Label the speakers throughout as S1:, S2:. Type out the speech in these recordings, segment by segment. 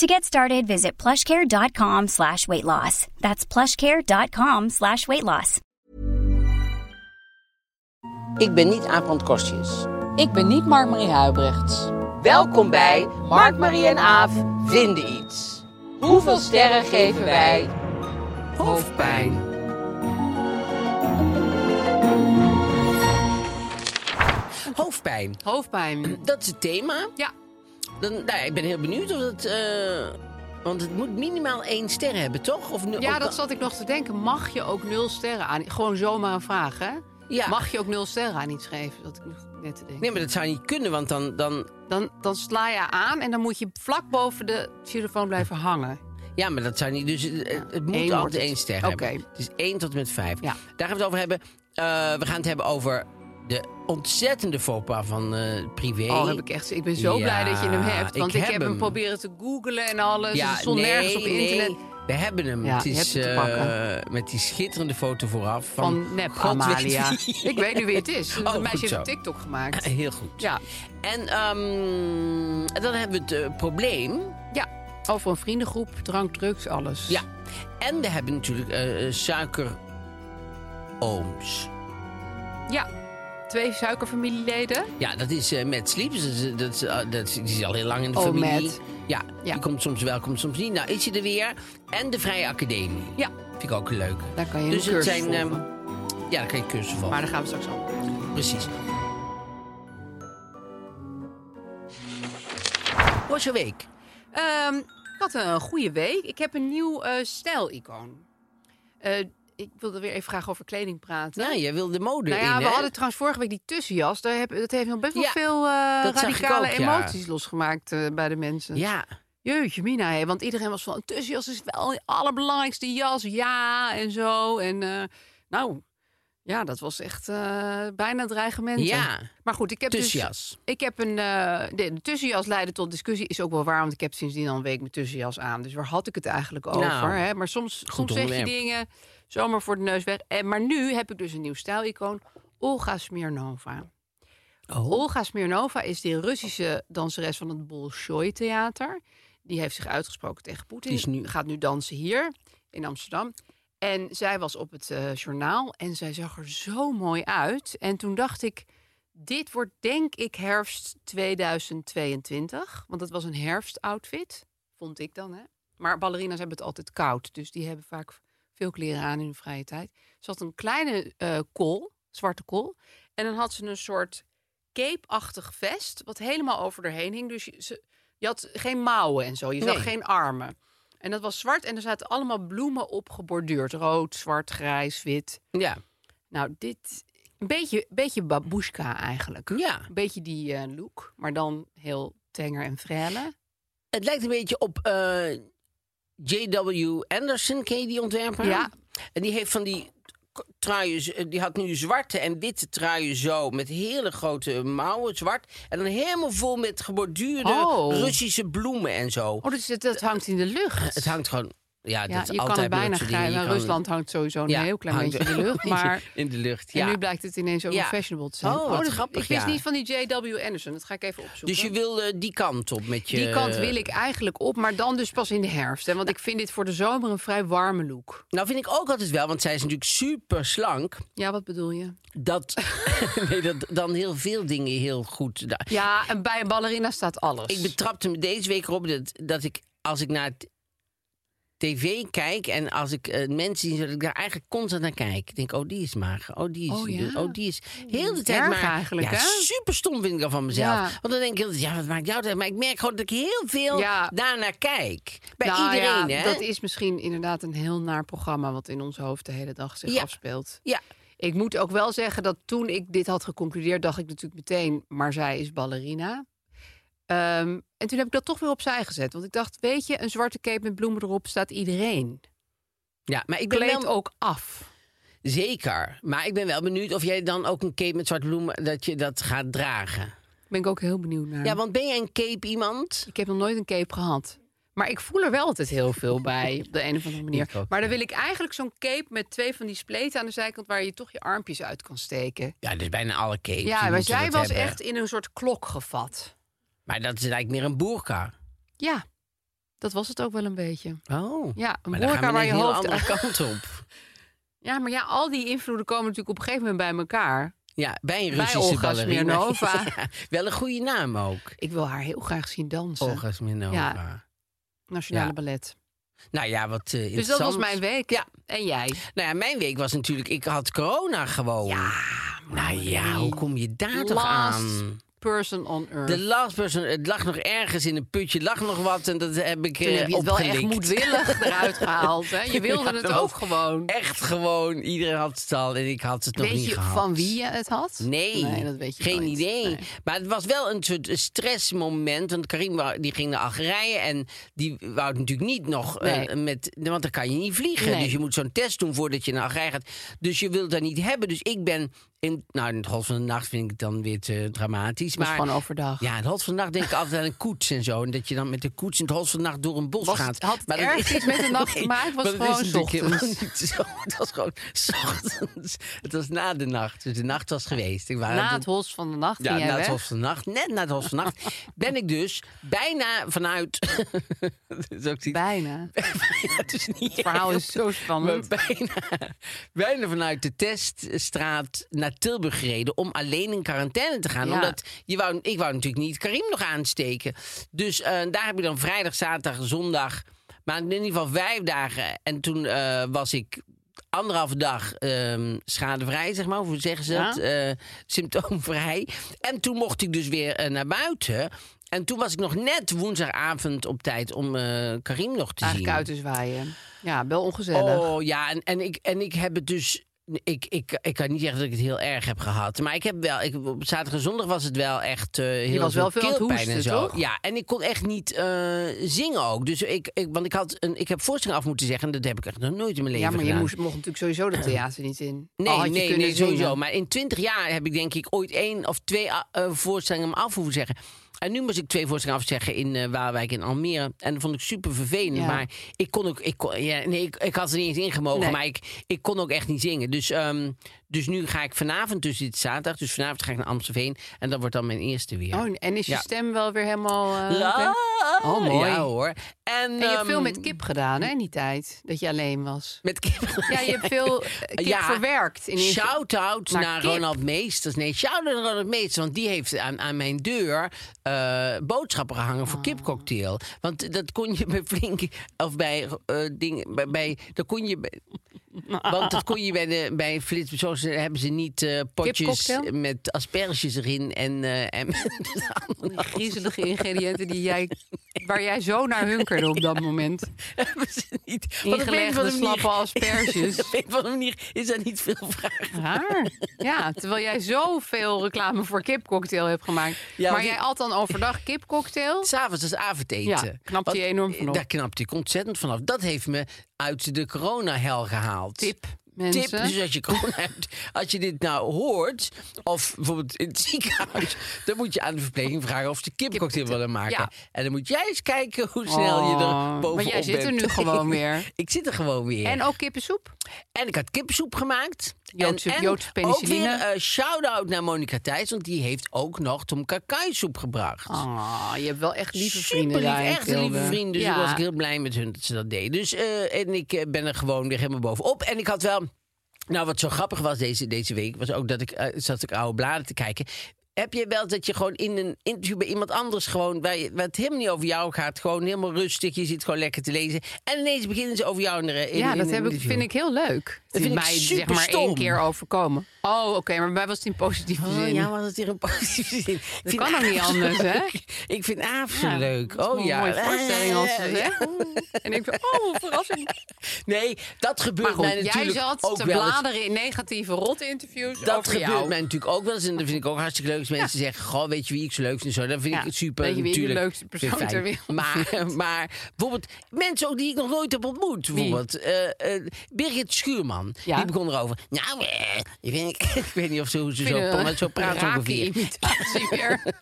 S1: To get started, visit plushcare.com slash weight loss. That's plushcare.com slash weight loss.
S2: Ik ben niet Aap van Kostjes.
S3: Ik ben niet Mark-Marie Huibrechts.
S2: Welkom bij Mark, Marie en Aaf vinden iets. Hoeveel sterren geven wij? Hoofdpijn. Hoofdpijn,
S3: Hoofdpijn.
S2: dat is het thema.
S3: Ja.
S2: Dan, nou, ik ben heel benieuwd of het... eh, want het moet minimaal één ster hebben, toch? Of, nu-
S3: Ja,
S2: of-
S3: dat zat ik nog te denken. Mag je ook nul sterren aan... Gewoon zomaar een vraag, hè?
S2: Ja.
S3: Mag je ook nul sterren aan iets geven? Dat ik nog net te denken.
S2: Nee, maar dat zou niet kunnen, want dan... dan
S3: Dan, dan sla je aan en dan moet je vlak boven de telefoon blijven hangen. Oh,
S2: ja, maar dat zou niet... Dus het, het moet
S3: Eén wordt
S2: altijd
S3: het.
S2: één ster
S3: Oké.
S2: hebben. Dus één tot en met vijf.
S3: Ja.
S2: Daar gaan we het over hebben. Eh, we gaan het hebben over de ontzettende faux pas van eh, Privé.
S3: Oh, heb ik echt. Ik ben zo
S2: Ja,
S3: blij dat je hem hebt. Want
S2: ik
S3: ik,
S2: heb
S3: heb hem,
S2: hem.
S3: proberen te googlen en alles.
S2: Ja,
S3: Ja, het stond
S2: nee,
S3: dus nergens op
S2: nee.
S3: internet.
S2: We hebben hem.
S3: Ja,
S2: het
S3: je
S2: is
S3: hebt hem te
S2: eh,
S3: pakken.
S2: met die schitterende foto vooraf van,
S3: Van nep
S2: God weet
S3: Amalia.
S2: wie.
S3: Ik weet nu wie het is.
S2: Oh,
S3: Een
S2: goed
S3: meisje heeft
S2: zo.
S3: een TikTok gemaakt.
S2: Heel goed.
S3: Ja.
S2: En ehm, dan hebben we het eh, probleem.
S3: ja, over een vriendengroep, drank, drugs, alles.
S2: Ja. En we hebben natuurlijk eh suikerooms.
S3: Ja, twee suikerfamilieleden.
S2: Ja, dat is eh Matt Sleeps. Dat is, dat, is, eh, dat is- die is al heel lang in de
S3: Oh,
S2: familie.
S3: Matt.
S2: Ja,
S3: Ja.
S2: die komt soms wel, komt soms niet. Nou, is hij er weer. En de Vrije Academie.
S3: Ja.
S2: Vind ik ook een leuke.
S3: Daar kan je
S2: dus
S3: een
S2: het
S3: cursus
S2: zijn, ehm,
S3: volgen.
S2: Ja, daar kan je cursus van.
S3: Maar daar gaan we straks over.
S2: Precies. Was je week?
S3: Ehm, ik had een goede week. Ik heb een nieuw eh stijlicoon. Eh, ik wilde weer even graag over kleding praten.
S2: Nou, jij wilde de mode
S3: nou
S2: in,
S3: ja, we
S2: hè?
S3: hadden trouwens vorige week die tussenjas. Daar heb, dat heeft nog best wel
S2: Ja,
S3: veel eh,
S2: dat zag ik
S3: radicale
S2: ook, ja.
S3: emoties losgemaakt eh, bij de mensen.
S2: Ja.
S3: Jeetje, Mina, hè, want iedereen was van... een tussenjas is wel je allerbelangrijkste jas, ja, en zo. En eh, nou, ja, dat was echt eh, bijna dreigementen.
S2: Ja.
S3: Maar goed, ik heb
S2: Tussenjas.
S3: dus... Ik heb een... eh, de, de tussenjas leidde tot discussie, is ook wel waar... want ik heb sindsdien al een week mijn tussenjas aan. Dus waar had ik het eigenlijk over? hè? Maar soms, soms zeg je
S2: Nou, onderwerp.
S3: dingen zomaar voor de neus weg. En, maar nu heb ik dus een nieuw stijlicoon. Olga Smirnova.
S2: Oh.
S3: Olga Smirnova is die Russische danseres van het Bolshoi Theater. Die heeft zich uitgesproken tegen Poetin.
S2: Die is nu-
S3: Gaat nu dansen hier in Amsterdam. En zij was op het eh, journaal en zij zag er zo mooi uit. En toen dacht ik, dit wordt denk ik herfst 2022. Want dat was een herfstoutfit, vond ik dan. Hè? Maar ballerina's hebben het altijd koud. Dus die hebben vaak veel kleren aan in hun vrije tijd. Ze had een kleine eh kool, zwarte kool. En dan had ze een soort cape-achtig vest, wat helemaal over erheen hing. Dus je, ze, je had geen mouwen en zo. Je
S2: Nee.
S3: zag geen armen. En dat was zwart en er zaten allemaal bloemen op geborduurd. Rood, zwart, grijs, wit.
S2: Ja.
S3: Nou, dit... Een beetje, beetje babushka eigenlijk.
S2: Ja.
S3: Een beetje die eh, look, maar dan heel tenger en frêle.
S2: Het lijkt een beetje op eh, J.W. Anderson, ken je die ontwerper?
S3: Ja.
S2: En die heeft van die k- truien, z- eh, die had nu zwarte en witte truien zo, met hele grote mouwen, zwart. En dan helemaal vol met geborduurde
S3: Oh.
S2: Russische bloemen en zo.
S3: Oh, dus het, dat hangt in de lucht.
S2: Het hangt gewoon, ja,
S3: ja,
S2: dat is
S3: je kan
S2: altijd
S3: het
S2: bij
S3: bijna
S2: dat soort dingen.
S3: grijpen.
S2: Je kan-
S3: Rusland hangt sowieso een
S2: Ja,
S3: heel klein
S2: hangt
S3: beetje in de
S2: een
S3: lucht.
S2: beetje
S3: Maar
S2: in de lucht,
S3: en
S2: ja.
S3: nu blijkt het ineens ook
S2: Ja.
S3: fashionable te zijn.
S2: Oh, wat
S3: dat-
S2: grappig,
S3: Ik wist
S2: ja.
S3: niet van die J.W. Anderson. Dat ga ik even opzoeken.
S2: Dus je wil eh, die kant op met je...
S3: Die kant wil ik eigenlijk op, maar dan dus pas in de herfst. Hè? Want ik vind dit voor de zomer een vrij warme look.
S2: Nou vind ik ook altijd wel, want zij is natuurlijk super slank.
S3: Ja, wat bedoel je?
S2: Dat, nee, dat dan heel veel dingen heel goed... da-
S3: Ja, en bij een ballerina staat alles.
S2: Ik betrapte me deze week erop dat, dat ik, als ik naar het tv kijk en als ik eh, mensen zie, dat ik daar eigenlijk constant naar kijk. Ik denk, oh, die is mager. Oh, die is.
S3: Oh,
S2: dun,
S3: ja.
S2: oh, die is. Heel de tijd
S3: Erg
S2: maar.
S3: eigenlijk,
S2: ja,
S3: hè?
S2: super stom vind ik dat van mezelf.
S3: Ja.
S2: Want dan denk ik, heel de tijd, ja, wat maakt jou uit? Maar ik merk gewoon dat ik heel veel
S3: Ja.
S2: daarnaar kijk. Bij
S3: Nou ja,
S2: iedereen, hè?
S3: Dat is misschien inderdaad een heel naar programma wat in ons hoofd de hele dag zich
S2: Ja.
S3: afspeelt.
S2: Ja.
S3: Ik moet ook wel zeggen dat toen ik dit had geconcludeerd, dacht ik natuurlijk meteen, maar zij is ballerina. Ehm, en toen heb ik dat toch weer opzij gezet. Want ik dacht, weet je, een zwarte cape met bloemen erop staat iedereen.
S2: ja, maar ik ben
S3: Kleed
S2: wel...
S3: ook af.
S2: Zeker. Maar ik ben wel benieuwd of jij dan ook een cape met zwarte bloemen... dat je dat gaat dragen.
S3: Ben ik ook heel benieuwd naar.
S2: Ja, want ben jij een cape iemand?
S3: Ik heb nog nooit een cape gehad. Maar ik voel er wel altijd heel veel bij, op de een of andere manier.
S2: Ik ook,
S3: maar dan wil ik eigenlijk zo'n cape met twee van die spleten aan de zijkant... waar je toch je armpjes uit kan steken.
S2: Ja, dus bijna alle capes. die
S3: Ja, maar
S2: moeten
S3: zij
S2: dat
S3: was
S2: hebben.
S3: echt in een soort klok gevat.
S2: Maar dat is lijkt meer een boerka.
S3: Ja, dat was het ook wel een beetje.
S2: Oh.
S3: Ja, een
S2: maar dan gaan we
S3: boerka waar je
S2: een hele
S3: hoofd...
S2: andere kant op.
S3: Ja, maar ja, al die invloeden komen natuurlijk op een gegeven moment bij elkaar.
S2: Ja, bij een
S3: Bij
S2: Russische
S3: Olga
S2: ballerina.
S3: Smirnova.
S2: Ja, wel een goede naam ook.
S3: Ik wil haar heel graag zien dansen.
S2: Olga Smirnova.
S3: Ja. Nationale
S2: Ja.
S3: Ballet.
S2: Nou ja, wat eh,
S3: Dus dat
S2: interessant.
S3: was mijn week.
S2: Ja.
S3: En jij?
S2: Nou ja, mijn week was natuurlijk... Ik had corona gewoon. Nou ja, hoe kom je daar Ah, toch
S3: Last
S2: aan?
S3: person on earth.
S2: De last person, het lag nog ergens in een putje, lag nog wat en dat heb ik
S3: Toen
S2: eh,
S3: heb je het wel echt
S2: opgelikt.
S3: moedwillig eruit gehaald. Hè? Je wilde
S2: Ja,
S3: het
S2: dat
S3: ook
S2: was
S3: gewoon.
S2: Echt gewoon, iedereen had het al en ik had het nog
S3: Weet
S2: niet
S3: je
S2: gehad.
S3: van wie je het had?
S2: Nee,
S3: dat weet je
S2: geen
S3: nooit.
S2: idee.
S3: Nee.
S2: Maar het was wel een soort stressmoment. Want Karim wou- die ging naar Algerije en die wou natuurlijk niet nog... eh,
S3: Nee.
S2: met, want dan kan je niet vliegen.
S3: Nee.
S2: Dus je moet zo'n test doen voordat je naar Algerije gaat. Dus je wilt dat niet hebben. Dus ik ben... In, nou, in het half van de nacht vind ik het dan weer te dramatisch.
S3: Maar
S2: Maar
S3: gewoon overdag.
S2: ja, in het hals van de nacht denk ik altijd aan een koets en zo. En dat je dan met de koets in het hals van de nacht door een bos
S3: Was-
S2: gaat.
S3: had het
S2: dat
S3: ergens iets met de nacht te maken? Was
S2: maar
S3: het
S2: dat is
S3: gewoon
S2: natuurlijk helemaal
S3: ochtends?
S2: niet zo. Het was gewoon 's ochtends. Het was na de nacht. Dus de nacht was geweest. Ik was
S3: Na het hols van de nacht
S2: Ah, ja,
S3: ging jij
S2: na het
S3: weg.
S2: Hof van de Nacht, net na het Hof van de Nacht, ben ik dus bijna vanuit. dat is ook niet.
S3: Bijna.
S2: het is niet
S3: Het verhaal
S2: erg.
S3: is zo
S2: Maar
S3: spannend.
S2: bijna, bijna vanuit de teststraat naar Tilburg gereden om alleen in quarantaine te gaan.
S3: Ja.
S2: Omdat je wou, ik wou natuurlijk niet Karim nog aansteken. Dus eh, daar heb je dan vrijdag, zaterdag, zondag. Maar in ieder geval vijf dagen. En toen eh, was ik anderhalve dag ehm, schadevrij, zeg maar. Hoe zeggen ze
S3: Ja.
S2: dat? eh, symptoomvrij. En toen mocht ik dus weer eh, naar buiten. En toen was ik nog net woensdagavond op tijd om eh, Karim nog te zien.
S3: Eigenlijk uit te zwaaien. Ja, wel ongezellig.
S2: Oh ja, en, en, ik, en ik heb het dus. Ik, ik, ik kan niet zeggen dat ik het heel erg heb gehad. Maar ik heb wel. Ik, op zaterdag en zondag was het wel echt. eh heel
S3: was wel veel aan het
S2: keelpijn en
S3: hoesten,
S2: zo.
S3: toch?
S2: Ja, en ik kon echt niet eh, zingen ook. Dus ik, ik, want ik, had een, ik heb voorstelling af moeten zeggen. En dat heb ik echt nog nooit in mijn leven
S3: ja, maar je
S2: gedaan.
S3: moest, mocht natuurlijk sowieso dat theater niet in.
S2: Nee,
S3: Al had je
S2: nee,
S3: kunnen
S2: nee, sowieso.
S3: zingen.
S2: Maar in twintig jaar heb ik denk ik ooit één of twee ah, eh, voorstellingen af hoeven zeggen. En nu moest ik twee voorstellingen afzeggen in eh Waalwijk en Almere. En dat vond ik super vervelend.
S3: Ja.
S2: Maar ik kon ook. Ik, kon, ja, nee, ik, ik had er niet eens in gemogen.
S3: Nee.
S2: Maar ik, ik kon ook echt niet zingen. Dus, ehm, dus nu ga ik vanavond, dus dit is zaterdag. Dus vanavond ga ik naar Amstelveen. En dat wordt dan mijn eerste weer.
S3: Oh, en is je
S2: Ja.
S3: stem wel weer helemaal... eh,
S2: La-
S3: oké? Oh, mooi.
S2: Ja, hoor. En,
S3: En je hebt veel
S2: ehm,
S3: met kip gedaan, hè, in die tijd. Dat je alleen was.
S2: Met kip.
S3: Ja, je hebt veel eh, kip
S2: Ja.
S3: verwerkt. In eerste-
S2: Shout-out naar,
S3: naar Kip.
S2: Ronald Meesters. Nee, shout-out naar Ronald Meesters. Want die heeft aan, aan mijn deur eh, boodschappen gehangen
S3: Ah.
S2: voor kipcocktail. Want dat kon je bij flink... Of bij eh dingen... Bij, bij, dat kon je... bij- want dat kon je bij, de, bij Flits. Zo ze- hebben ze niet eh, potjes
S3: Kipcocktail?
S2: met asperges erin. En, eh en met
S3: Die griezelige ingrediënten die jij, waar jij zo naar hunkerde op dat moment.
S2: hebben ze niet. Want op een of
S3: Ingelegde
S2: andere manier-
S3: slappe asperges.
S2: Op een of andere manier is dat niet veel vraag.
S3: Raar. Ja, terwijl jij zoveel reclame voor kipcocktail hebt gemaakt.
S2: Ja,
S3: maar
S2: want
S3: jij
S2: ik-
S3: had dan overdag kipcocktail?
S2: S'avonds als avondeten.
S3: Ja, knapt hij enorm van op.
S2: Daar knapt ik ontzettend vanaf. Dat heeft me uit de corona-hel gehaald.
S3: Tip,
S2: Tip,
S3: mensen.
S2: dus als je corona hebt, als je dit nou hoort, of bijvoorbeeld in het ziekenhuis, dan moet je aan de verpleging vragen of ze kipcocktail willen maken.
S3: ja.
S2: En dan moet jij eens kijken hoe snel je er
S3: Oh,
S2: bovenop
S3: maar jij zit er
S2: bent.
S3: nu gewoon weer.
S2: ik zit er gewoon weer.
S3: En ook kippensoep?
S2: En ik had kippensoep gemaakt.
S3: Joodse-
S2: en, en
S3: Joodse
S2: ook
S3: penicilline.
S2: weer eh, shout-out naar Monica Thijs, want die heeft ook nog Tom Kakaisoep gebracht.
S3: Ah, je hebt wel echt lieve vrienden
S2: Super
S3: daar in
S2: lief, echt een lieve
S3: Tilburg.
S2: vrienden. Dus
S3: ja.
S2: daar was ik heel blij met hun dat ze dat deden. Dus eh, en ik eh, ben er gewoon weer helemaal bovenop. En ik had wel. Nou, wat zo grappig was deze, deze week, was ook dat ik eh, zat ik oude bladen te kijken. Heb je wel dat je gewoon in een interview bij iemand anders gewoon, waar, je- waar het helemaal niet over jou gaat, gewoon helemaal rustig, je zit gewoon lekker te lezen. En ineens beginnen ze over jou in, de- in
S3: ja,
S2: in
S3: dat
S2: een
S3: heb ik,
S2: interview.
S3: vind ik heel leuk. Het
S2: vind
S3: is
S2: ik
S3: mij zeg maar
S2: superstom.
S3: één keer overkomen. Oh, oké, maar bij mij was het in positieve
S2: Oh,
S3: zin.
S2: ja, was het hier een positieve zin. Ik vind
S3: kan ook niet
S2: Aaf zo
S3: anders, hè?
S2: leuk. Ik vind Aaf zo
S3: Ja,
S2: leuk.
S3: dat is wel
S2: Oh
S3: een
S2: ja.
S3: mooie voorstelling als ze
S2: Ja.
S3: hè? En ik vind, oh, verrassing.
S2: Nee, dat gebeurt
S3: Maar goed,
S2: mij
S3: jij
S2: natuurlijk
S3: zat
S2: ook
S3: te
S2: wel eens.
S3: bladeren in negatieve rotinterviews
S2: Dat
S3: over
S2: gebeurt
S3: jou.
S2: mij natuurlijk ook wel eens. En dat vind ik ook hartstikke leuk. Als mensen zeggen, goh, weet je wie ik zo leuk vind? en Zo, dat vind
S3: Ja,
S2: ik het super.
S3: weet je wie ik de
S2: natuurlijk,
S3: leukste persoon
S2: Vind ik fijn.
S3: ter wereld
S2: Maar, maar bijvoorbeeld mensen ook die ik nog nooit heb ontmoet. Bijvoorbeeld eh, eh, Birgit Schuurman.
S3: Ja.
S2: Die begon erover. Nou, eh, ik, vind, ik weet niet of ze, hoe ze
S3: Ik vind
S2: zo,
S3: het
S2: maar zo
S3: een
S2: praat ze
S3: rake
S2: ongeveer.
S3: imitatie weer.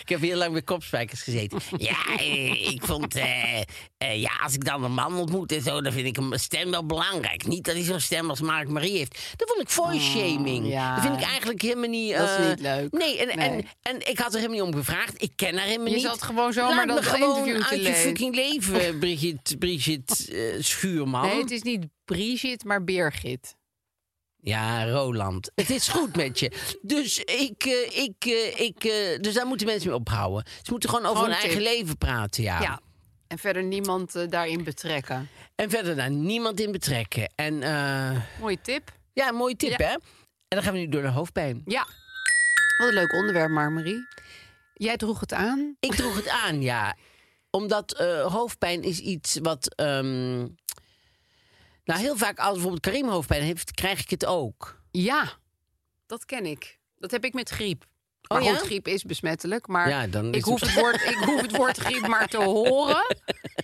S2: ik heb heel lang met kopspijkers gezeten. ja, eh, ik vond... eh, eh, ja, als ik dan een man ontmoet en zo... dan vind ik hem stem wel belangrijk. Niet dat hij zo'n stem als Mark Marie heeft. Dat vond ik voice-shaming.
S3: Oh, ja.
S2: Dat vind ik eigenlijk helemaal niet...
S3: Dat is
S2: eh,
S3: niet leuk.
S2: Nee, en,
S3: Nee.
S2: En, en ik had er helemaal niet om gevraagd. Ik ken haar helemaal
S3: Je
S2: niet.
S3: zat gewoon zomaar
S2: Laat
S3: dat
S2: me gewoon
S3: interview te
S2: uit je
S3: leven.
S2: fucking leven, Brigitte, Brigitte eh, Schuurman.
S3: Nee, het is niet Brigitte, maar Birgit.
S2: Ja, Roland. Het is goed met je. Dus, ik, eh, ik, eh, ik, eh, dus daar moeten mensen mee ophouden. Ze moeten gewoon over
S3: Gewoon
S2: hun
S3: een
S2: eigen leven praten, ja.
S3: Ja. En verder niemand eh, daarin betrekken.
S2: En verder daar niemand in betrekken. En eh,
S3: Mooie tip.
S2: ja, een mooie tip,
S3: Ja.
S2: hè? En dan gaan we nu door naar hoofdpijn.
S3: Ja. Wat een leuk onderwerp, Marmarie. Jij droeg het aan.
S2: Ik droeg het aan, ja. Omdat eh, hoofdpijn is iets wat... ehm, nou, heel vaak als bijvoorbeeld Karim hoofdpijn heeft, krijg ik het ook.
S3: Ja, dat ken ik. Dat heb ik met griep. Maar
S2: Oh ja?
S3: goed, griep is besmettelijk, maar
S2: Ja, dan is
S3: ik,
S2: het
S3: hoef het woord, ik hoef het woord griep maar te horen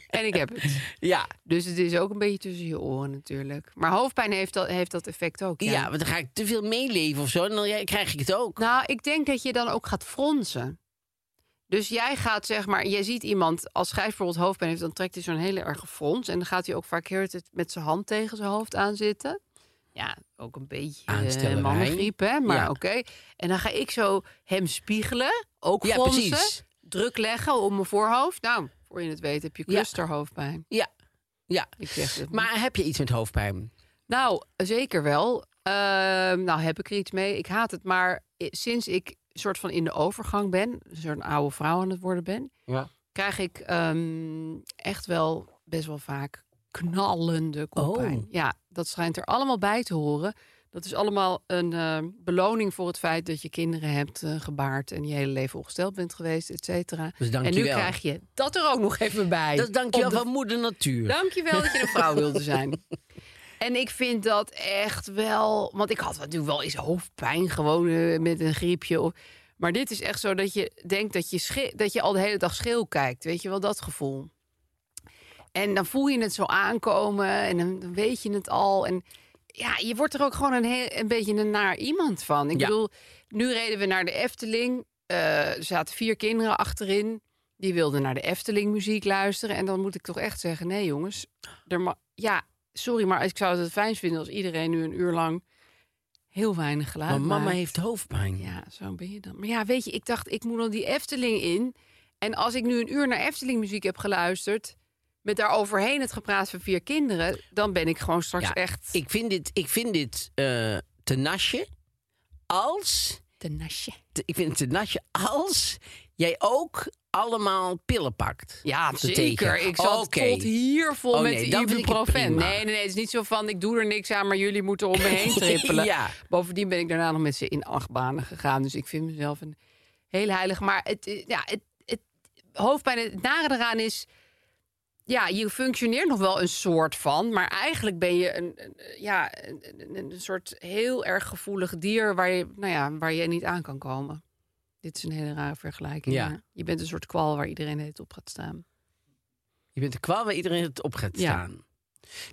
S3: en ik heb het.
S2: Ja.
S3: Dus het is ook een beetje tussen je oren natuurlijk. Maar hoofdpijn heeft dat, heeft dat effect ook.
S2: Ja, want dan ga ik te veel meeleven of zo. En dan ja, krijg ik het ook.
S3: Nou, ik denk dat je dan ook gaat fronsen. Dus jij gaat zeg maar, jij ziet iemand, als hij bijvoorbeeld hoofdpijn heeft, dan trekt hij zo'n hele erge frons. En dan gaat hij ook vaak heel de tijd met zijn hand tegen zijn hoofd aan zitten. Ja, ook een beetje eh,
S2: Aanstellerij.
S3: mannengriep, hè? Maar
S2: Ja.
S3: oké. En dan ga ik zo hem spiegelen, ook
S2: Ja,
S3: fronsen,
S2: precies.
S3: druk leggen op mijn voorhoofd. Nou, voor je het weet heb je
S2: Ja.
S3: clusterhoofdpijn.
S2: Ja. Ja.
S3: Ik zeg het
S2: Maar heb je iets met hoofdpijn?
S3: nou, zeker wel. Ehm, nou, heb ik er iets mee. Ik haat het, maar i- sinds ik soort van in de overgang ben, een soort oude vrouw aan het worden ben,
S2: Ja.
S3: krijg ik ehm, echt wel best wel vaak knallende koppijn.
S2: Oh.
S3: Ja, dat schijnt er allemaal bij te horen. Dat is allemaal een ehm, beloning voor het feit dat je kinderen hebt eh, gebaard en je hele leven ongesteld bent geweest, et cetera.
S2: Dus dank
S3: en
S2: je
S3: nu
S2: wel.
S3: krijg je dat er ook nog even bij.
S2: Dat dank je wel
S3: Op de
S2: van moeder natuur.
S3: Dankjewel dat je een vrouw wilde zijn. En ik vind dat echt wel... Want ik had natuurlijk wel eens hoofdpijn gewoon eh, met een griepje. of- Maar dit is echt zo dat je denkt dat je, sche- dat je al de hele dag scheel kijkt. Weet je wel, dat gevoel. En dan voel je het zo aankomen en dan dan weet je het al. En ja, je wordt er ook gewoon een, heel, een beetje een naar iemand van. Ik
S2: Ja.
S3: bedoel, nu reden we naar de Efteling. Eh, er zaten vier kinderen achterin. Die wilden naar de Efteling muziek luisteren. En dan moet ik toch echt zeggen, nee jongens. Er ma- ja, sorry, maar ik zou het fijn vinden als iedereen nu een uur lang heel weinig geluid
S2: Maar mama
S3: maakt.
S2: heeft hoofdpijn.
S3: Ja, zo ben je dan. Maar ja, weet je, ik dacht, ik moet dan die Efteling in. En als ik nu een uur naar Efteling muziek heb geluisterd... met daaroverheen het gepraat van vier kinderen... dan ben ik gewoon straks
S2: Ja,
S3: echt...
S2: Ik vind dit, ik vind dit eh, te nasje als...
S3: de nasje.
S2: te- ik vind het te nasje als jij ook allemaal pillen pakt.
S3: Ja,
S2: Te
S3: zeker.
S2: tegen.
S3: Ik zat
S2: Oké.
S3: tot hier vol
S2: Oh,
S3: met
S2: nee,
S3: de
S2: dan vind ik het
S3: ibuprofen.
S2: prima.
S3: Nee, nee, nee. Het is niet zo van, ik doe er niks aan... maar jullie moeten om me heen trippelen.
S2: Ja.
S3: Bovendien ben ik daarna nog met ze in achtbanen gegaan. Dus ik vind mezelf een heel heilig. Maar het, eh, ja, het, het hoofdpijn, het nare eraan is... Ja, je functioneert nog wel een soort van. Maar eigenlijk ben je een, een- ja, een, een- een soort heel erg gevoelig dier... Waar je, nou ja, waar je niet aan kan komen. Dit is een hele rare vergelijking.
S2: Ja.
S3: maar Je bent een soort kwal waar iedereen de hele tijd op gaat staan.
S2: Je bent de kwal waar iedereen het op gaat
S3: Ja.
S2: staan.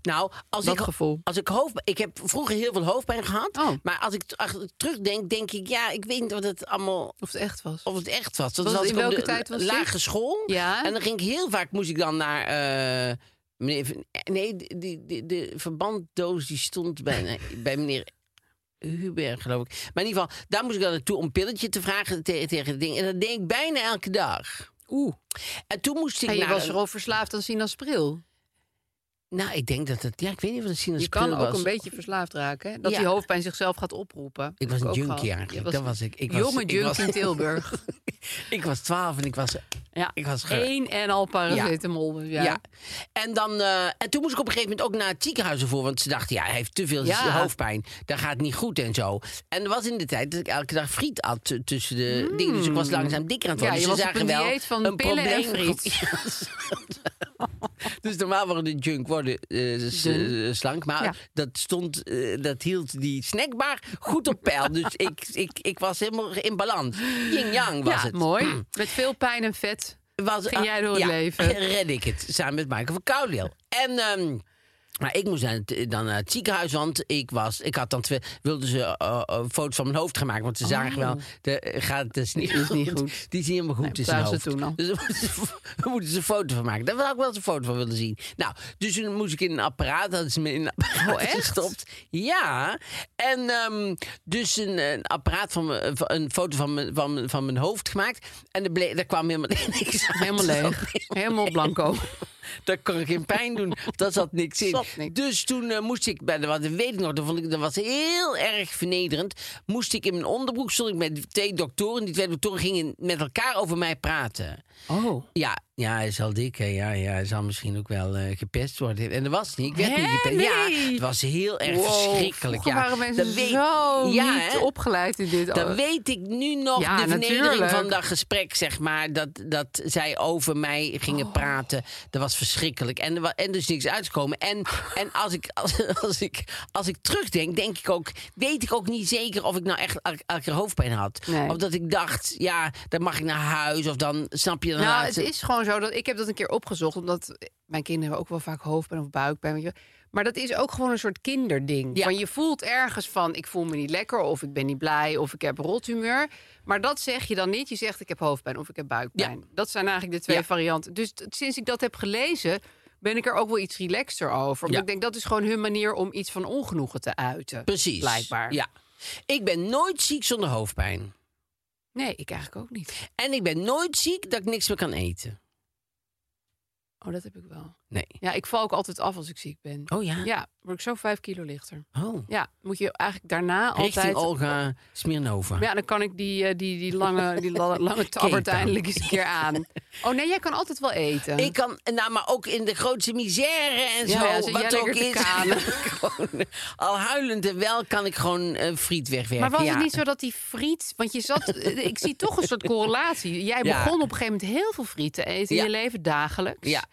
S2: Nou, als
S3: Dat
S2: ik,
S3: gevoel.
S2: Als ik, hoofdpijn, ik heb vroeger heel veel hoofdpijn gehad.
S3: Oh.
S2: Maar als ik t- achter- terugdenk, denk ik... Ja, ik weet niet of het allemaal...
S3: Of het echt was.
S2: Of het echt was. Dat
S3: Was
S2: was
S3: het in
S2: ik op
S3: welke
S2: de
S3: tijd was dit?
S2: lagere school.
S3: Ja.
S2: En dan ging ik heel vaak, moest ik dan naar... eh, meneer, Van- nee, de, de, de verbanddoos die stond bij, bij meneer Huber, geloof ik. Maar in ieder geval, daar moest ik dan naartoe om een pilletje te vragen tegen, tegen het ding. En dat deed ik bijna elke dag.
S3: Oeh.
S2: En toen moest ik
S3: En je
S2: naar...
S3: was
S2: een-
S3: erover verslaafd aan sinaasapril.
S2: Nou, ik denk dat het... Ja, ik weet niet wat een
S3: Je
S2: sinaasappel
S3: kan
S2: was.
S3: ook een beetje verslaafd raken. hè? Dat
S2: Ja.
S3: die hoofdpijn zichzelf gaat oproepen.
S2: Ik was
S3: Heb
S2: een
S3: ook
S2: junkie
S3: gehad.
S2: eigenlijk.
S3: Je
S2: dat was ik. ik was,
S3: jonge
S2: ik
S3: junkie
S2: was-
S3: in Tilburg.
S2: ik was twaalf en ik was...
S3: Ja.
S2: Ik was ge-
S3: Eén en al paracetamol. dus
S2: Ja.
S3: Ja.
S2: En, dan, eh, en toen moest ik op een gegeven moment ook naar het ziekenhuis ervoor. Want ze dachten, ja, hij heeft te veel
S3: Ja.
S2: hoofdpijn. Dat gaat niet goed en zo. En er was in de tijd dat ik elke dag friet at t- tussen de dingen. Dus ik was langzaam dikker aan het
S3: Mm. Ja,
S2: worden. Dus ze
S3: je was op
S2: zagen
S3: een
S2: wel
S3: dieet van
S2: een
S3: pillen en
S2: probleem.
S3: friet.
S2: Ja. dus normaal worden de junk worden eh, s-
S3: Dun.
S2: eh, slank. Maar
S3: Ja.
S2: dat, stond, eh, dat hield die snackbar goed op peil. dus ik, ik, ik was helemaal in balans. Yin-yang was
S3: Ja,
S2: het
S3: mooi. Met veel pijn en vet.
S2: was,
S3: Ging jij door het
S2: ja,
S3: leven?
S2: red ik het. Samen met Michael van Kouwdeel. En... ehm, maar ik moest naar het, eh, dan naar het ziekenhuis, want ik, was, ik had dan twee, wilden ze eh, eh, foto's van mijn hoofd gaan maken. Want ze zagen wel, de, eh, gaat, dat is niet,
S3: Oh. is niet
S2: goed.
S3: goed.
S2: Die is niet helemaal goed
S3: Nee,
S2: in zijn
S3: zagen
S2: hoofd.
S3: ze toen al.
S2: Dus daar moeten ze- daar moeten ze een foto van maken. Daar wil ik wel eens een foto van willen zien. Nou, dus toen moest ik in een apparaat, hadden ze me in een apparaat
S3: Oh, echt?
S2: gestopt. Ja, en ehm, dus een, een apparaat van me- van- een foto van mijn, van, mijn- van mijn hoofd gemaakt. En er, bleek, daar kwam helemaal niks uit.
S3: Helemaal leeg. Helemaal blanco.
S2: Daar kon ik geen pijn doen. Dat zat niks in.
S3: Zat niks.
S2: Dus toen eh, moest ik, bij de, want dat weet ik nog, dat, vond ik, dat was heel erg vernederend. Moest ik in mijn onderbroek, stond ik met twee doktoren. Die twee doktoren gingen met elkaar over mij praten.
S3: Oh.
S2: Ja, ja hij is al dik. hè. Ja, ja, hij zal misschien ook wel eh, gepest worden. En dat was het niet. Ik werd
S3: Hè?
S2: niet gepest. Ja,
S3: Nee.
S2: het was heel erg
S3: Wow,
S2: verschrikkelijk.
S3: vroeger
S2: Ja,
S3: waren mensen
S2: Dat weet-
S3: zo
S2: ja,
S3: niet
S2: hè.
S3: opgeleid in dit.
S2: Dan weet ik nu nog
S3: Ja,
S2: de vernedering
S3: natuurlijk.
S2: van dat gesprek, zeg maar. Dat, dat zij over mij gingen
S3: Oh.
S2: praten. Dat was verschrikkelijk. En er, wa- en dus niks uitkomen. En, en als, ik, als, als ik, als ik terugdenk, denk ik ook, weet ik ook niet zeker of ik nou echt elke, elke keer hoofdpijn had.
S3: Nee.
S2: Of dat ik dacht, ja, dan mag ik naar huis. Of dan, snap je, dan
S3: Nou,
S2: laat
S3: het
S2: ze-
S3: is gewoon zo dat ik heb dat een keer opgezocht, omdat mijn kinderen hebben ook wel vaak hoofdpijn of buikpijn. weet je wel. Maar dat is ook gewoon een soort kinderding.
S2: Ja.
S3: Van je voelt ergens van, ik voel me niet lekker, of ik ben niet blij, of ik heb rothumeur. Maar dat zeg je dan niet. Je zegt, ik heb hoofdpijn of ik heb buikpijn. Dat zijn eigenlijk de twee
S2: Ja.
S3: varianten. Dus t- sinds ik dat heb gelezen, ben ik er ook wel iets relaxter over. Want
S2: Ja.
S3: ik denk, dat is gewoon hun manier om iets van ongenoegen te uiten.
S2: Precies.
S3: Blijkbaar.
S2: Ja. Ik ben nooit ziek zonder hoofdpijn.
S3: Nee, ik eigenlijk ook niet.
S2: En ik ben nooit ziek dat ik niks meer kan eten.
S3: Oh, dat heb ik wel.
S2: Nee.
S3: Ja, ik val ook altijd af als ik ziek ben.
S2: Oh ja?
S3: Ja, word ik zo vijf kilo lichter.
S2: Oh.
S3: Ja, moet je eigenlijk daarna
S2: Richting
S3: altijd...
S2: Olga Smirnova.
S3: Maar Ja, dan kan ik die, eh, die, die lange, die la- lange tabbert
S2: dan.
S3: eindelijk eens een keer aan. Oh nee, jij kan altijd wel eten.
S2: Ik kan, nou, maar ook in de grootste misère en
S3: Ja,
S2: zo.
S3: ja, zit jij
S2: wat ook
S3: lekker te
S2: is.
S3: kanen.
S2: gewoon, al huilend en wel kan ik gewoon eh, friet wegwerken.
S3: maar was
S2: ja.
S3: het niet zo dat die friet... Want je zat... eh, ik zie toch een soort correlatie. Jij
S2: Ja.
S3: begon op een gegeven moment heel veel friet te eten
S2: Ja.
S3: in je leven, dagelijks.
S2: Ja.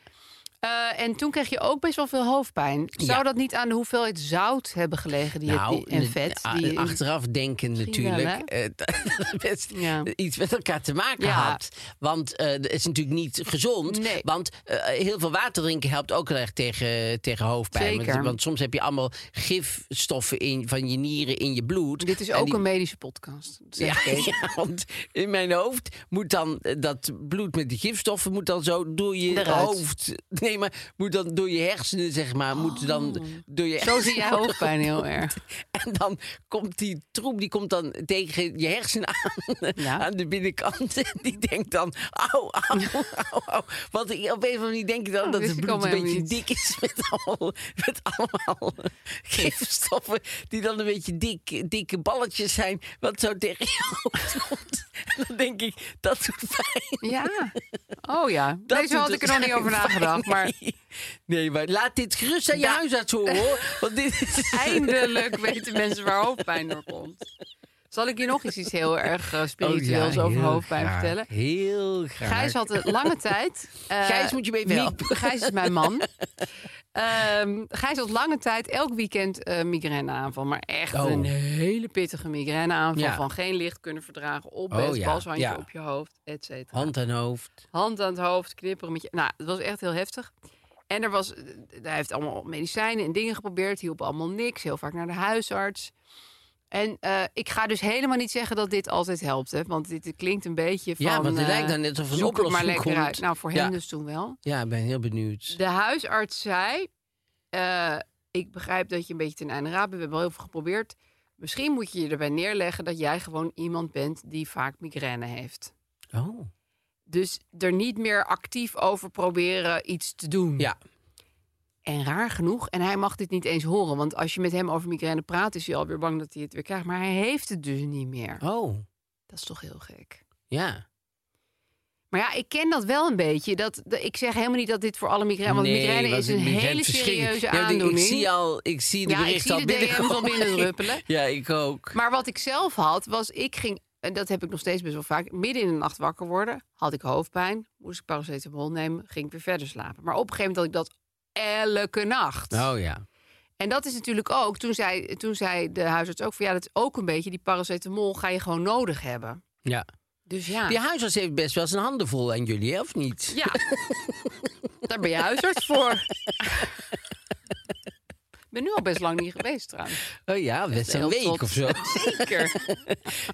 S3: Eh, en toen kreeg je ook best wel veel hoofdpijn. Zou
S2: Ja.
S3: dat niet aan de hoeveelheid zout hebben gelegen die je-
S2: Nou,
S3: die- en
S2: de-
S3: vet?
S2: a-
S3: die,
S2: achteraf denken
S3: Misschien wel,
S2: natuurlijk. eh, dat het best
S3: Ja.
S2: iets met elkaar te maken
S3: Ja.
S2: had. Want eh, dat is natuurlijk niet gezond.
S3: Nee.
S2: Want eh, heel veel water drinken helpt ook heel erg tegen, tegen hoofdpijn. Want-
S3: Zeker.
S2: Want, soms heb je allemaal gifstoffen in, van je nieren in je bloed.
S3: dit is
S2: En
S3: ook
S2: die-
S3: een medische podcast. zeg
S2: Ja,
S3: ik even.
S2: ja, want in mijn hoofd moet dan eh, dat bloed met die gifstoffen moet dan zo door je
S3: Eruit.
S2: hoofd. Nee, maar moet dan door je hersenen, zeg maar. Moet dan door je
S3: Oh. Zo zie jij
S2: hersenen-
S3: hoofdpijn heel erg.
S2: En dan komt die troep, die komt dan tegen je hersenen aan,
S3: Ja.
S2: aan de binnenkant. En die denkt dan, au, au, au, au. Want ik- op een of andere manier denk ik dan
S3: Oh,
S2: dat
S3: wist
S2: het
S3: ik
S2: bloed een
S3: allemaal
S2: beetje
S3: helemaal
S2: dik is met allemaal, met allemaal gifstoffen. Die dan een beetje dik, dikke balletjes zijn, wat zo tegen je hoofd komt. En dan denk ik, dat doet pijn.
S3: Ja. Oh ja.
S2: Dat
S3: Deze had
S2: doet
S3: ik er nog niet over
S2: waarschijnlijk
S3: nagedacht. Maar
S2: pijn. Nee, maar laat dit gerust aan je
S3: Ja.
S2: huisarts horen, hoor. Want dit is...
S3: eindelijk weten mensen waar hoofdpijn door komt. Zal ik je nog eens iets heel erg eh, spiritueels
S2: Oh ja,
S3: over
S2: heel
S3: hoofdpijn
S2: graag,
S3: vertellen?
S2: Heel graag.
S3: Gijs had een lange tijd. eh,
S2: Gijs moet je mee
S3: mi-
S2: helpen.
S3: Gijs is mijn man. Ehm, Gijs had lange tijd elk weekend eh migraineaanval. Maar echt
S2: Oh.
S3: een hele pittige migraineaanval.
S2: Ja.
S3: Van geen licht kunnen verdragen. Op
S2: Oh
S3: best,
S2: ja,
S3: balshandje
S2: ja.
S3: op je hoofd, et cetera.
S2: hand en hoofd.
S3: hand aan het hoofd, knipperen met je. Nou, het was echt heel heftig. En er was, eh, hij heeft allemaal medicijnen en dingen geprobeerd. Hielp allemaal niks. Heel vaak naar de huisarts. En eh, ik ga dus helemaal niet zeggen dat dit altijd helpt. Hè? Want dit klinkt een beetje van...
S2: Ja, want het
S3: eh,
S2: lijkt dan net of er een
S3: zoek het maar
S2: oplossing
S3: lekker
S2: komt.
S3: uit. Nou, voor
S2: Ja.
S3: hem dus toen wel.
S2: Ja, ik ben heel benieuwd.
S3: De huisarts zei: eh, Ik begrijp dat je een beetje ten einde raad bent. We hebben al heel veel geprobeerd. Misschien moet je je erbij neerleggen dat jij gewoon iemand bent die vaak migraine heeft.
S2: Oh.
S3: Dus er niet meer actief over proberen iets te doen.
S2: Ja.
S3: En raar genoeg, en hij mag dit niet eens horen, want als je met hem over migraine praat, is hij alweer bang dat hij het weer krijgt. Maar hij heeft het dus niet meer.
S2: Oh,
S3: Dat is toch heel gek.
S2: ja.
S3: Maar ja, ik ken dat wel een beetje. Dat, dat- ik zeg helemaal niet dat dit voor alle migraine... Want migraine
S2: wat
S3: is een
S2: migraine
S3: hele
S2: verschrikkelijk.
S3: serieuze
S2: Ja, ik-
S3: aandoening.
S2: Ik zie al, ik zie de
S3: Ja, ik
S2: berichten
S3: zie
S2: al
S3: de DM's al
S2: binnenkomen.
S3: binnenruppelen.
S2: Ja, ik ook.
S3: Maar wat ik zelf had, was ik ging... En dat heb ik nog steeds best wel vaak. Midden in de nacht wakker worden. Had ik hoofdpijn. Moest ik paracetamol nemen. Ging ik weer verder slapen. Maar op een gegeven moment had ik dat elke nacht.
S2: oh ja.
S3: En dat is natuurlijk ook... Toen zei, toen zei de huisarts ook van... Ja, dat is ook een beetje... Die paracetamol ga je gewoon nodig hebben.
S2: ja.
S3: Dus ja.
S2: Die huisarts heeft best wel zijn handen vol aan jullie, hè, of niet?
S3: Ja, daar ben je huisarts voor. Ik ben nu al best lang niet geweest trouwens.
S2: Oh ja, best een
S3: heel
S2: week
S3: trots.
S2: of zo.
S3: Zeker.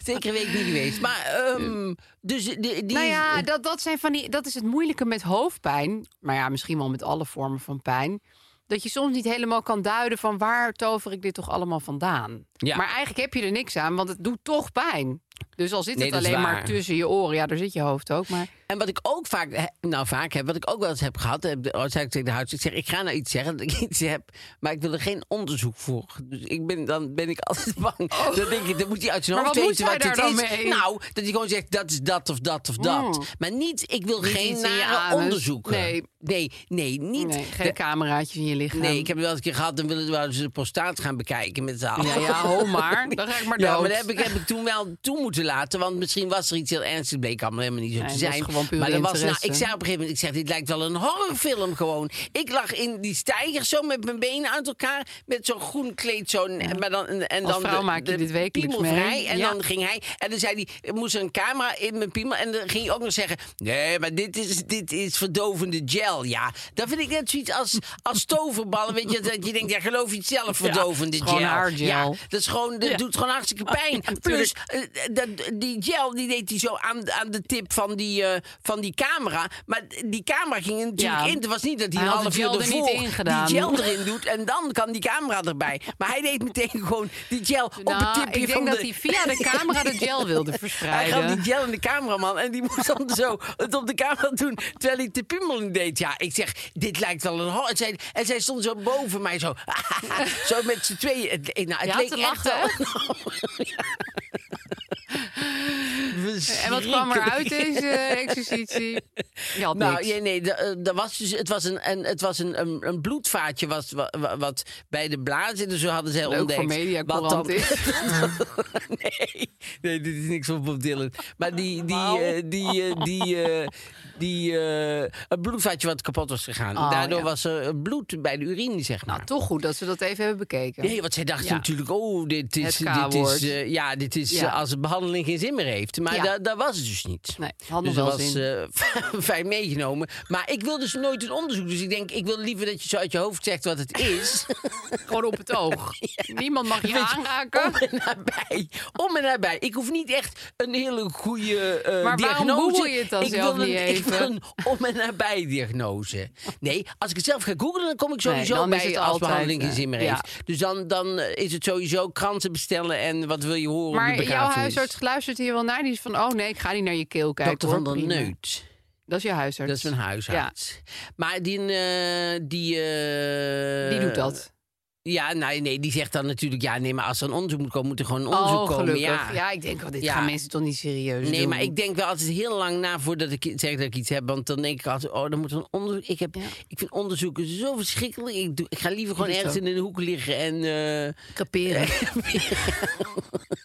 S2: Zeker een week niet geweest. Maar, ehm, dus die, die
S3: Nou
S2: is-
S3: ja, dat, dat, zijn van die, dat is het moeilijke met hoofdpijn. Maar ja, misschien wel met alle vormen van pijn. Dat je soms niet helemaal kan duiden van waar tover ik dit toch allemaal vandaan.
S2: Ja.
S3: Maar eigenlijk heb je er niks aan, want het doet toch pijn. Dus al zit
S2: Nee,
S3: het
S2: dat is
S3: alleen
S2: waar.
S3: maar tussen je oren, ja, daar zit je hoofd ook. Maar
S2: En wat ik ook vaak, he- nou vaak heb, wat ik ook wel eens heb gehad, heb, de- als zei ik tegen de huisarts, ik zeg, ik ga nou iets zeggen dat ik iets heb, maar ik wil er geen onderzoek voor. Dus ik ben, dan ben ik altijd bang. Dan denk ik, dan moet hij uit zijn
S3: Oh. Maar
S2: hoofd
S3: wat
S2: weten
S3: moet
S2: wat
S3: hij
S2: dit
S3: daar
S2: is.
S3: dan mee? Mm.
S2: Nou, dat hij gewoon zegt, dat is dat of dat of dat. Maar niet, ik wil
S3: Niet
S2: geen
S3: iets in je
S2: nare
S3: anus.
S2: onderzoeken.
S3: Nee.
S2: nee, nee, niet.
S3: nee, geen
S2: De-
S3: cameraatjes in je lichaam.
S2: Nee, ik heb het wel eens een keer gehad. Dan willen we ze de prostaat gaan bekijken met z'n allen.
S3: Ja, ja, ho maar. Dan ga ik maar
S2: Ja, maar
S3: dood.
S2: dat heb ik, heb ik toen wel toe moeten laten. Want misschien was er iets heel ernstigs. Bleek allemaal helemaal niet zo
S3: Nee,
S2: te
S3: het was
S2: zijn.
S3: gewoon pure
S2: maar dat was, nou,
S3: interesse.
S2: ik zei op een gegeven moment, ik zeg, dit lijkt wel een horrorfilm gewoon. Ik lag in die stijger zo met mijn benen uit elkaar. Met zo'n groen kleed. Zo, maar dan, en, en
S3: Als
S2: dan
S3: vrouw
S2: de-
S3: maak je
S2: de
S3: dit wekelijks
S2: piemel
S3: mee.
S2: vrij. En
S3: Ja.
S2: dan ging hij. En dan zei hij, er moest een camera in mijn piemel. En dan ging hij ook nog zeggen, nee, maar dit is, dit is verdovende gel. Ja, dat vind ik net zoiets als, als toverballen. Weet je, dat je denkt, ja, geloof je het zelf, verdovende
S3: het is
S2: gel.
S3: gewoon haargel.
S2: Ja, dat is gewoon, dat
S3: Ja. Oh,
S2: doet gewoon hartstikke pijn. Plus, eh, dat- die gel die deed hij zo aan, aan de tip van die, eh, van die camera. Maar die camera ging er natuurlijk
S3: Ja.
S2: in. Het was niet dat hij
S3: Hij
S2: een
S3: had
S2: half
S3: de
S2: uur
S3: gel er niet
S2: ervoor
S3: in gedaan.
S2: die gel erin doet. En dan kan die camera erbij. Maar hij deed meteen gewoon die gel op het
S3: Nou,
S2: tipje
S3: ik denk
S2: van
S3: dat
S2: de...
S3: hij via de camera de gel wilde
S2: Hij
S3: verspreiden.
S2: gaf die gel in de cameraman en die moest dan zo het op de camera doen terwijl hij de piemel in deed. Ja, ik zeg, dit lijkt wel een horror. En zij, en zij stond zo boven mij zo, zo met z'n tweeën. Het, nou, het
S3: Ja,
S2: leek
S3: te
S2: echt
S3: lachen,
S2: wel- Ja.
S3: En wat kwam er uit deze eh, exercitie? Je had
S2: Nou,
S3: niks.
S2: ja, nee, de- eh, dat was dus, het was een, een, het was een, een, een bloedvaatje wat, wat, wat bij de blaas zit. Dus zo hadden zij
S3: Leuk voor
S2: ontdekt.
S3: mediacourant
S2: wat dan-
S3: is.
S2: nee, nee, dit is niks van Bob Dylan. Maar die, die,
S3: Wauw.
S2: eh, die, eh, die, eh, die eh, een bloedvaatje wat kapot was gegaan.
S3: Oh,
S2: Daardoor
S3: ja.
S2: was er eh, bloed bij de urine, zeg maar.
S3: Nou, toch goed dat ze dat even hebben bekeken.
S2: Nee, want zij dachten
S3: Ja.
S2: natuurlijk, oh, dit is,
S3: Het
S2: dit is,
S3: K-woord.
S2: eh, ja, dit is
S3: Ja.
S2: eh, als de behandeling geen zin meer heeft. Maar
S3: Ja.
S2: da- dat was het dus niet.
S3: Nee, het had
S2: dus
S3: nog
S2: dat was
S3: wel zin.
S2: eh, fijn meegenomen. Maar ik wil dus nooit een onderzoek. Dus ik denk, ik wil liever dat je zo uit je hoofd zegt wat het is.
S3: Gewoon op het oog. Niemand mag je
S2: Weet je,
S3: aanraken.
S2: Om en nabij. Om en nabij. Ik hoef niet echt een hele goede eh
S3: Maar waarom
S2: diagnose.
S3: google je het dan
S2: ik
S3: zelf
S2: wil
S3: niet
S2: een, Ik
S3: even?
S2: wil een om en nabij diagnose. Nee, als ik het zelf ga googlen, dan kom ik sowieso
S3: Nee, dan
S2: bij
S3: is het
S2: als
S3: altijd,
S2: behandeling geen
S3: eh,
S2: zin meer
S3: ja.
S2: heeft. Dus dan, dan eh, is het sowieso kranten bestellen en wat wil je horen op de
S3: Maar jouw
S2: begrafenis.
S3: huisarts luistert hier wel naar. Die is van, oh nee, ik ga niet naar je keel kijken.
S2: Dokter
S3: hoor,
S2: van der
S3: prima.
S2: Neut.
S3: Dat is je huisarts.
S2: Dat is mijn huisarts. Maar die... eh, die, eh,
S3: Die doet dat.
S2: Ja, nee, nee, die zegt dan natuurlijk... Ja, nee, maar als er een onderzoek moet komen, moet er gewoon een onderzoek
S3: Oh,
S2: komen.
S3: gelukkig.
S2: Ja.
S3: Ja. ik denk, wel dit
S2: Ja.
S3: gaan mensen toch niet serieus
S2: Nee,
S3: doen.
S2: maar ik denk wel altijd heel lang na voordat ik zeg dat ik iets heb. Want dan denk ik altijd, oh, dan moet er een onderzoek. Ik, heb,
S3: Ja.
S2: ik vind onderzoeken zo verschrikkelijk. Ik, doe, ik ga liever gewoon
S3: doe het
S2: ergens in
S3: ook.
S2: een hoek liggen en... eh,
S3: Creperen.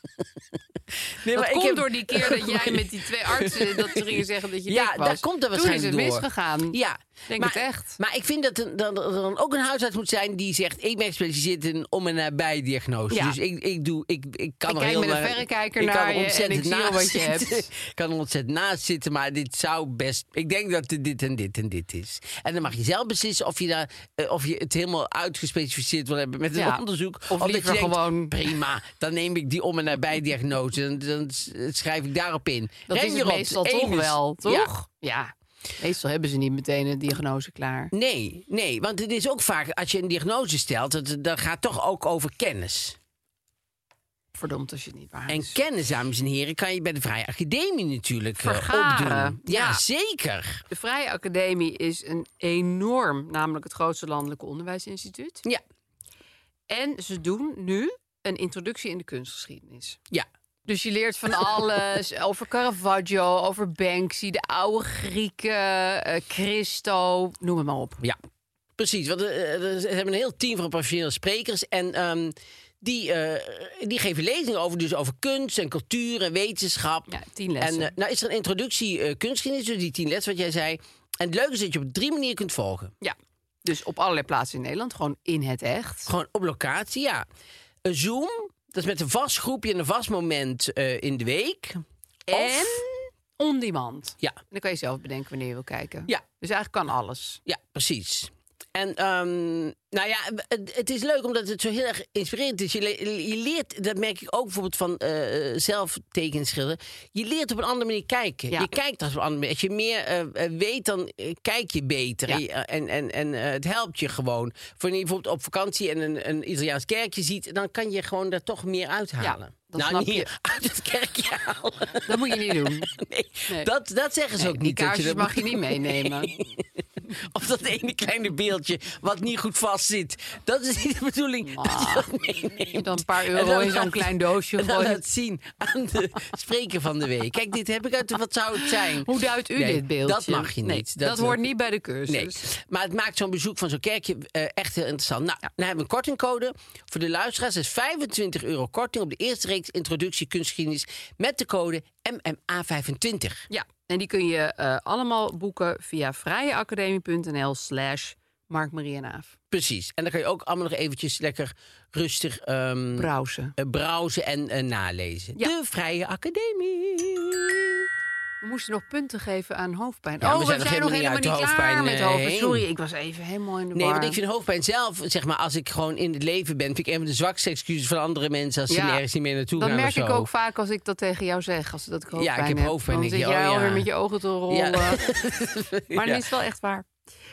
S2: nee,
S3: dat
S2: maar ik
S3: komt
S2: heb-
S3: door die keer dat jij met die twee artsen dat ze gingen zeggen dat je
S2: Ja,
S3: dik was.
S2: daar komt dat waarschijnlijk
S3: Toen is
S2: door.
S3: het misgegaan.
S2: Ja,
S3: Mm. Denk
S2: maar,
S3: het echt.
S2: Maar ik vind dat er dan, dan ook een huisarts moet zijn die zegt: Ik ben gespecialiseerd in om en nabij diagnose.
S3: Ja.
S2: Dus ik, ik, doe, ik, ik kan
S3: Ik
S2: er
S3: kijk
S2: heel
S3: met een
S2: erg-
S3: verrekijker
S2: ik
S3: naar
S2: kan
S3: je
S2: er
S3: en
S2: ontzettend
S3: ik zie
S2: naast
S3: al wat je
S2: zitten.
S3: hebt.
S2: Ik kan er ontzettend naast zitten, maar dit zou best. Ik denk dat dit, dit en dit en dit is. En dan mag je zelf beslissen of je, daar, eh, of je het helemaal uitgespecificeerd wil hebben met een
S3: Ja.
S2: onderzoek.
S3: Of
S2: dat je
S3: liever
S2: denkt,
S3: gewoon-
S2: Prima, dan neem ik die om en nabij diagnose. Dan, dan s- schrijf ik daarop in.
S3: Dat is het
S2: Renjerot,
S3: meestal toch
S2: Emus.
S3: wel,
S2: Ja.
S3: toch? Ja. Meestal hebben ze niet meteen een diagnose klaar.
S2: Nee, nee, want het is ook vaak als je een diagnose stelt, dat, dat gaat toch ook over kennis.
S3: verdomd als je het niet waar
S2: En
S3: is.
S2: kennis, dames en heren, kan je bij de Vrije Academie natuurlijk eh,
S3: Vergaren.
S2: opdoen. Ja,
S3: Ja.
S2: zeker.
S3: De Vrije Academie is een enorm, namelijk het grootste landelijke onderwijsinstituut.
S2: Ja,
S3: En ze doen nu een introductie in de kunstgeschiedenis.
S2: ja.
S3: Dus je leert van alles over Caravaggio, over Banksy, de oude Grieken, eh, Christo, noem het maar op.
S2: Ja, precies. Want eh, eh, ze hebben een heel team van professionele sprekers. En ehm, die, eh, die geven lezingen over, dus over kunst en cultuur en wetenschap.
S3: Ja, tien
S2: en
S3: lessen.
S2: eh, nou is er een introductie eh kunstgeschiedenis, dus die tien les wat jij zei. En het leuke is dat je op drie manieren kunt volgen.
S3: ja. Dus op allerlei plaatsen in Nederland, gewoon in het echt.
S2: Gewoon op locatie, ja. Een Zoom, dat is met een vast groepje en een vast moment eh, in de week.
S3: En on demand.
S2: Ja.
S3: En dan kan je zelf bedenken wanneer je wil kijken.
S2: Ja.
S3: Dus eigenlijk kan alles.
S2: Ja, precies. En ehm, nou ja, het, het is leuk omdat het zo heel erg inspirerend is. Je, le- je leert, dat merk ik ook bijvoorbeeld van eh zelf tekenen schilderen. Je leert op een andere manier kijken.
S3: Ja.
S2: Je kijkt als op een andere manier. Als je meer eh, eh, weet, dan eh, kijk je beter.
S3: Ja.
S2: En je- En, en, en eh, het helpt je gewoon. Voor je bijvoorbeeld op vakantie en een, een Italiaans kerkje ziet, dan kan je gewoon daar toch meer uithalen.
S3: dat
S2: nou,
S3: snap
S2: niet
S3: je.
S2: uit het kerkje halen.
S3: Dat moet je niet doen.
S2: Nee,
S3: Nee.
S2: Dat, dat zeggen ze
S3: Nee,
S2: ook
S3: die
S2: niet. dat je
S3: kaarsjes
S2: dat
S3: mag je
S2: moet
S3: niet
S2: doen.
S3: meenemen.
S2: Of dat ene kleine beeldje wat niet goed vastzit. Dat is niet de bedoeling. Dat je dat meeneemt.
S3: Dan een paar
S2: En
S3: euro
S2: dan
S3: Ah. in zo'n
S2: laat-
S3: klein doosje
S2: en dan
S3: gooien.
S2: laat zien aan de spreker van de week. Kijk, dit heb ik uit de Wat zou het zijn?
S3: Hoe duidt u
S2: Nee,
S3: dit beeld?
S2: Dat mag je niet.
S3: dat, hoort niet bij de cursus.
S2: Nee, maar het maakt zo'n bezoek van zo'n kerkje eh, echt heel interessant. Nou, dan hebben we een kortingcode. Voor de luisteraars is 25 euro korting op de eerste reeks introductie kunstgeschiedenis met de code MMA25.
S3: Ja, en die kun je eh, allemaal boeken via vrijeacademie.nl slash Mark Marie en Aaf.
S2: Precies. En dan kan je ook allemaal nog eventjes lekker rustig ehm,
S3: Browsen.
S2: eh, browsen en eh, nalezen.
S3: Ja.
S2: De Vrije Academie.
S3: We moesten nog punten geven aan hoofdpijn.
S2: Ja,
S3: oh,
S2: we
S3: we
S2: zijn
S3: zijn,
S2: nog
S3: nog
S2: helemaal
S3: helemaal
S2: niet uit
S3: niet
S2: de
S3: klaar
S2: hoofdpijn,
S3: met
S2: eh,
S3: hoofdpijn.
S2: heen.
S3: Sorry, ik was even helemaal in de war.
S2: Nee, want ik vind hoofdpijn zelf, zeg maar, als ik gewoon in het leven ben, vind ik een van de zwakste excuses van andere mensen als ze
S3: Ja,
S2: nergens niet meer naartoe
S3: Dat
S2: gaan.
S3: merk
S2: of zo.
S3: ik ook vaak als ik dat tegen jou zeg, als dat ik hoofdpijn
S2: ik heb hoofdpijn,
S3: Dan
S2: ik
S3: zit
S2: denk,
S3: jij
S2: oh, ja.
S3: alweer met je ogen te rollen.
S2: Ja. Ja.
S3: Maar dat is wel echt waar.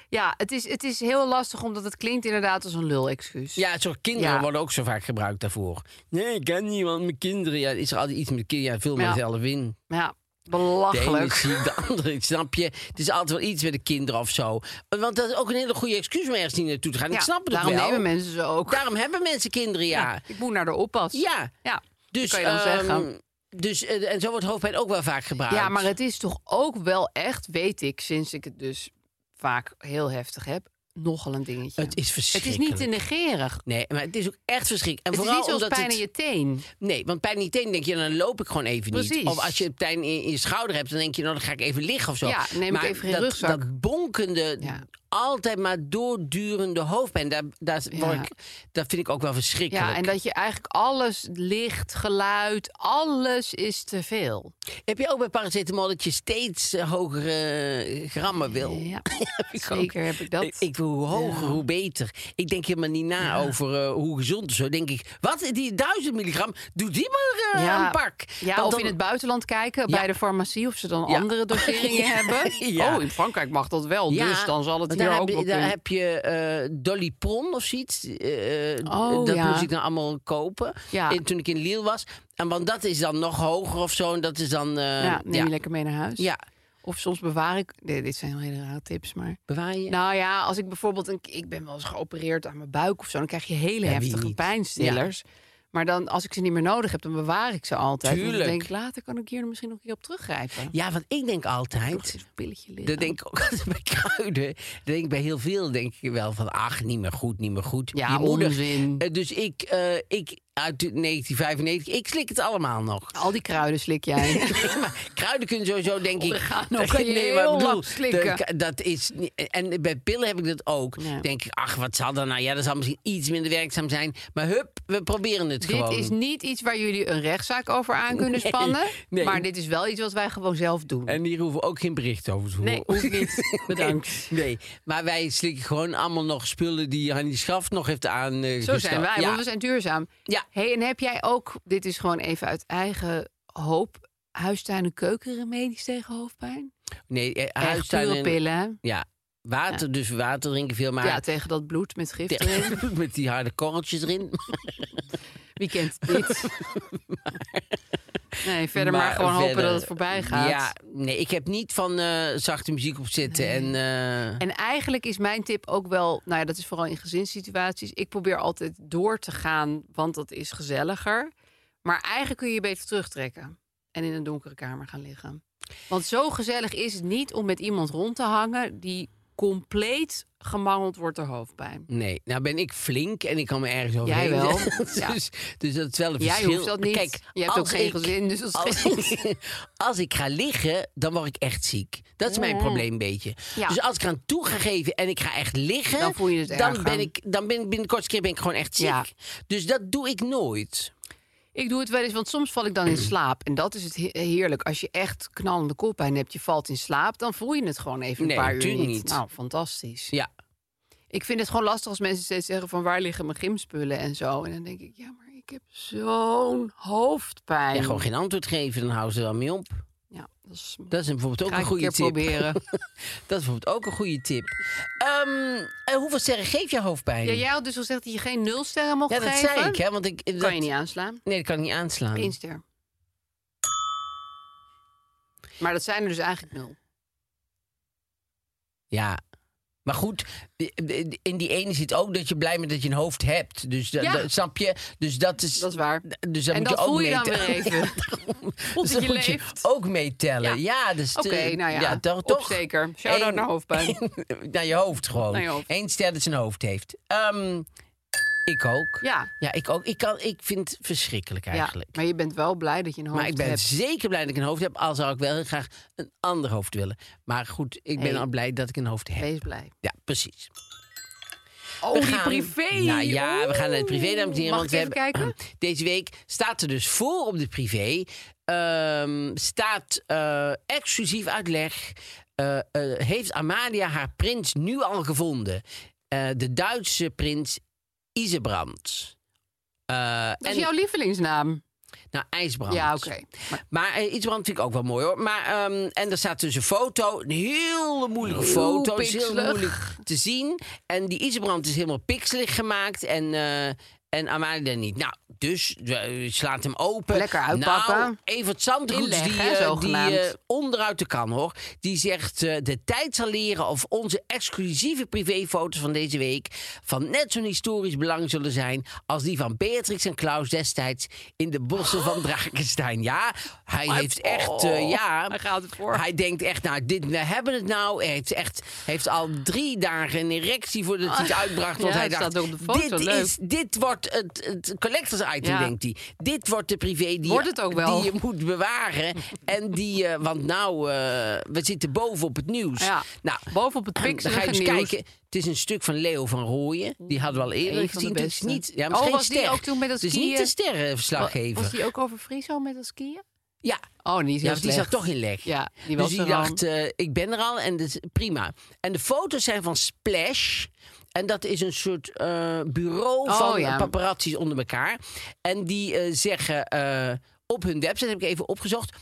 S3: Ja, het is, het is heel lastig, omdat het klinkt inderdaad als een lul-excuus.
S2: Ja, soort kinderen
S3: Ja.
S2: worden ook zo vaak gebruikt daarvoor. Nee, ik ken niemand, mijn kinderen. Ja, is er altijd iets met kinderen? Ja, veel
S3: Ja.
S2: meer zelf in.
S3: Maar ja
S2: De ene is
S3: belachelijk.
S2: ziek, de andere, is- snap je? Het is altijd wel iets met de kinderen of zo. Want dat is ook een hele goede excuus om ergens niet naartoe te gaan.
S3: Ja,
S2: ik snap het ook
S3: daarom
S2: wel.
S3: nemen mensen ze ook.
S2: Daarom hebben mensen kinderen, ja.
S3: Ik moet naar de oppas.
S2: Ja,
S3: Ja,
S2: dus...
S3: kan je dan
S2: ehm,
S3: zeggen.
S2: Dus, eh, en zo wordt hoofdpijn ook wel vaak gebruikt.
S3: Ja, maar het is toch ook wel echt, weet ik, sinds ik het dus vaak heel heftig heb, nogal een dingetje.
S2: Het is
S3: Het is
S2: verschrikkelijk.
S3: niet te negerig.
S2: Nee, maar het is ook echt verschrikkelijk. En
S3: Het is
S2: vooral
S3: niet zoals
S2: omdat
S3: pijn
S2: het...
S3: in je teen.
S2: Nee, want pijn in je teen denk je, dan loop ik gewoon even niet.
S3: Precies.
S2: Of als je pijn in in je schouder hebt, dan denk je, nou, dan ga ik even liggen of zo.
S3: Ja, neem ik
S2: maar
S3: even geen
S2: dat,
S3: rugzak.
S2: dat bonkende,
S3: Ja.
S2: altijd maar doordurende hoofdpijn, daar, daar word
S3: Ja.
S2: ik, dat vind ik ook wel verschrikkelijk.
S3: Ja, en dat je eigenlijk alles, licht, geluid, alles is te veel.
S2: Heb je ook bij paracetamol dat je steeds eh, hogere eh, grammen wil?
S3: Ja,
S2: Heb ik ook.
S3: zeker heb ik dat.
S2: Ik, ik wil hoe hoger, hoe beter. Ik denk helemaal niet na over eh, hoe gezond of zo. Denk ik, wat? Die 1000 milligram? Doe die maar eh,
S3: Ja.
S2: een pak.
S3: Ja,
S2: Want
S3: of
S2: dan-
S3: in het buitenland kijken
S2: Ja.
S3: bij de farmacie of ze dan
S2: Ja.
S3: andere doseringen hebben.
S2: Ja.
S3: Oh, in Frankrijk mag dat wel, dus dan zal het
S2: want
S3: hier
S2: daar
S3: ook
S2: heb,
S3: wel
S2: je- Daar
S3: kunnen.
S2: heb je eh Dolipron of zoiets. Eh, eh,
S3: Oh,
S2: dat
S3: ja.
S2: moest ik dan allemaal kopen
S3: Ja.
S2: eh, toen ik in Lille was. En want dat is dan nog hoger of zo. En dat is dan... eh,
S3: ja, neem je
S2: ja.
S3: lekker mee naar huis.
S2: Ja.
S3: Of soms bewaar ik... Nee, dit zijn hele rare tips, maar...
S2: Bewaar je?
S3: Nou ja, als ik bijvoorbeeld... Een, ik ben wel eens geopereerd aan mijn buik of zo... dan krijg je hele
S2: wie
S3: heftige
S2: niet?
S3: pijnstillers. Maar dan, als ik ze niet meer nodig heb, dan bewaar ik ze altijd. Want
S2: Tuurlijk.
S3: Dan denk ik, later kan ik hier misschien nog een keer op teruggrijpen.
S2: ja, want ik denk
S3: Nog
S2: altijd...
S3: eens een pilletje liggen.
S2: Dat denk ik ook altijd bij kruiden. Dat denk ik bij heel veel. denk ik wel van, ach, niet meer goed, niet meer goed.
S3: Ja,
S2: Je moeder.
S3: onzin.
S2: Eh, Dus ik, eh, ik uit 1995, ik slik het allemaal nog.
S3: Al die kruiden slik jij.
S2: Nee, maar kruiden kunnen sowieso, denk
S3: Oh,
S2: ik...
S3: Oregano kan je heel lang slikken.
S2: de- dat is niet- en bij pillen heb ik dat ook.
S3: Ja.
S2: denk ik, ach, wat zal dat nou? Ja, dat zal misschien iets minder werkzaam zijn. Maar hup, we proberen het
S3: dit
S2: gewoon.
S3: is niet iets waar jullie een rechtszaak over aan kunnen spannen.
S2: nee.
S3: Maar dit is wel iets wat wij gewoon zelf doen.
S2: En hier hoeven we ook geen bericht over te
S3: Nee,
S2: horen.
S3: hoeft niet. Bedankt.
S2: Nee, maar wij slikken gewoon allemaal nog spullen die Hannie Schaft nog heeft aan. eh,
S3: Zo zijn wij,
S2: gestapt. Ja.
S3: want we zijn duurzaam.
S2: Ja.
S3: Hey, en heb jij ook, dit is gewoon even uit eigen hoop, huistuin- en keukenremedies tegen hoofdpijn?
S2: Nee, eh,
S3: Echt
S2: huistuin
S3: pure
S2: en-
S3: pillen, hè?
S2: Ja, water, dus water drinken veel, maar...
S3: Ja, tegen dat bloed met gif erin.
S2: met die harde korreltjes erin.
S3: Wie kent dit? nee, verder maar, gewoon hopen
S2: verder-
S3: dat het voorbij gaat.
S2: Ja, nee, ik heb niet van eh, zachte muziek op zitten. En, eh,
S3: En eigenlijk is mijn tip ook wel, nou ja, dat is vooral in gezinssituaties. Ik probeer altijd door te gaan, want dat is gezelliger. Maar eigenlijk kun je je beter terugtrekken en in een donkere kamer gaan liggen. Want zo gezellig is het niet om met iemand rond te hangen die compleet gemangeld wordt door hoofdpijn.
S2: Nee, nou ben ik flink en ik kan me ergens over
S3: Jij wel.
S2: dus,
S3: Ja.
S2: dus dat is wel een
S3: Jij
S2: verschil.
S3: hoeft dat niet.
S2: Kijk,
S3: Je hebt
S2: als
S3: ook geen
S2: ik-
S3: gezin, dus dat
S2: Als
S3: scheelt.
S2: ik, als ik ga liggen, dan word ik echt ziek. Dat is mijn probleem een beetje.
S3: Ja.
S2: Dus als ik aan toe ga geven en ik ga echt liggen...
S3: Dan voel je het erger.
S2: dan ben ik, dan ben ik binnen de kortste keer ben ik gewoon echt ziek.
S3: Ja.
S2: Dus dat doe ik nooit.
S3: Ik doe het wel eens, want soms val ik dan in slaap. En dat is het he- heerlijk. Als je echt knallende koppijn hebt, je valt in slaap, dan voel je het gewoon even een
S2: Nee,
S3: paar uur
S2: tuurlijk
S3: niet.
S2: niet.
S3: Nou, fantastisch.
S2: Ja.
S3: Ik vind het gewoon lastig als mensen steeds zeggen van waar liggen mijn gymspullen en zo. En dan denk ik, ja, maar ik heb zo'n hoofdpijn.
S2: En gewoon geen antwoord geven, dan houden ze er wel mee op.
S3: Ja, dat is
S2: Dat is bijvoorbeeld ook
S3: Ga
S2: een
S3: ik
S2: goede
S3: een keer
S2: tip.
S3: proberen.
S2: dat is bijvoorbeeld ook een goede tip. Ehm, en hoeveel sterren geef je hoofdpijn?
S3: Ja, jij had dus al gezegd dat je geen nul sterren mocht
S2: Ja, dat
S3: geven.
S2: zei ik, hè? Want ik,
S3: Kan je niet aanslaan.
S2: Nee, dat Ehm. kan ik niet aanslaan.
S3: Eén ster. Maar dat zijn er dus eigenlijk nul.
S2: Ja. Maar goed, in die ene zit ook dat je blij bent dat je een hoofd hebt. Dus dat,
S3: Ja.
S2: dat- snap je? Dus dat is.
S3: Dat is waar.
S2: Dus dat
S3: en
S2: moet
S3: dat
S2: je ook
S3: voel je
S2: mee
S3: dan
S2: tellen.
S3: weer even.
S2: Ja, daarom.
S3: Voelt
S2: Dus dat
S3: dat je
S2: moet
S3: leeft.
S2: je ook meetellen. Ja, dus
S3: Oké,
S2: de-
S3: nou ja.
S2: toch, toch?
S3: Opsteker. Shout-out
S2: Eén-
S3: naar hoofdpijn.
S2: naar je hoofd gewoon.
S3: Naar je hoofd.
S2: Eén ster dat zijn hoofd heeft. Ehm, ik ook.
S3: Ja.
S2: Ja, ik ook. Ik, kan, ik vind het verschrikkelijk eigenlijk.
S3: Ja, maar je bent wel blij dat je een hoofd
S2: Maar ik ben
S3: hebt.
S2: zeker blij dat ik een hoofd heb. Al zou ik wel heel graag een ander hoofd willen. Maar goed, ik ben
S3: Hey.
S2: al blij dat ik een hoofd heb.
S3: Wees blij.
S2: Ja, precies.
S3: Oh,
S2: We
S3: die
S2: gaan-
S3: privé.
S2: Nou ja, we gaan naar de
S3: Oeh.
S2: privé, dames en heren.
S3: Mag
S2: want
S3: ik
S2: we
S3: even
S2: hebben-
S3: kijken?
S2: Deze week staat er dus voor op de privé. ehm, staat eh, exclusief uitleg. eh, eh, heeft Amalia haar prins nu al gevonden? Eh, de Duitse prins Isebrand. Eh,
S3: Dat is
S2: en-
S3: jouw lievelingsnaam.
S2: Nou, IJsbrand.
S3: Ja, oké.
S2: Maar eh, iets brand vind ik ook wel mooi hoor. Maar, ehm, en er staat dus een foto, een hele moeilijke
S3: Heel
S2: foto. Het is heel
S3: pixelig.
S2: moeilijk te zien. En die Isebrand is helemaal pixelig gemaakt. En, eh, en Amalia niet. Nou, dus eh, slaat hem open.
S3: Lekker uitpakken.
S2: Nou, Evert Zandgoeds,
S3: Inleggen,
S2: die,
S3: hè,
S2: eh, die
S3: zogenaamd.
S2: eh, onderuit de kan hoor. Die zegt, eh, de tijd zal leren of onze exclusieve privéfoto's van deze week... van net zo'n historisch belang zullen zijn... als die van Beatrix en Klaus destijds in de bossen van Drakenstein. Ja, hij heeft echt... eh, ja,
S3: Oh, Hij gaat het voor.
S2: Hij denkt echt, nou, dit, we hebben het nou. Hij heeft, echt, heeft al drie dagen een erectie voordat hij het uitbracht. Want
S3: Ah, Ja,
S2: hij
S3: het
S2: dacht,
S3: staat ook op de foto,
S2: dit,
S3: leuk.
S2: Is, dit wordt het, het collectors item,
S3: Ja.
S2: denkt hij. Dit wordt de privé die,
S3: Wordt het ook wel.
S2: die je moet bewaren. en die, eh, want nou, eh, we zitten boven op het nieuws.
S3: Ja,
S2: Nou,
S3: bovenop het
S2: dan ga
S3: pixelige
S2: je dus
S3: nieuws.
S2: kijken. Het is een stuk van Leo van Rooyen. Die hadden we al eerder
S3: Eén van de
S2: gezien. Het is
S3: beste.
S2: niet, ja, maar het
S3: Oh,
S2: is geen
S3: was die
S2: ster.
S3: ook toen met dat
S2: Het is niet
S3: skiën?
S2: de sterrenverslaggever.
S3: Was die ook over Friso met dat skiën?
S2: Ja,
S3: Oh, die
S2: ja,
S3: is heel
S2: want die zat
S3: slecht.
S2: toch in leg.
S3: Ja, die was
S2: dus die
S3: er al.
S2: dacht, eh, ik ben er al en dat is prima. En de foto's zijn van Splash. En dat is een soort eh, bureau
S3: Oh,
S2: van
S3: ja.
S2: paparazzi's onder elkaar. En die eh, zeggen eh, op hun website, heb ik even opgezocht...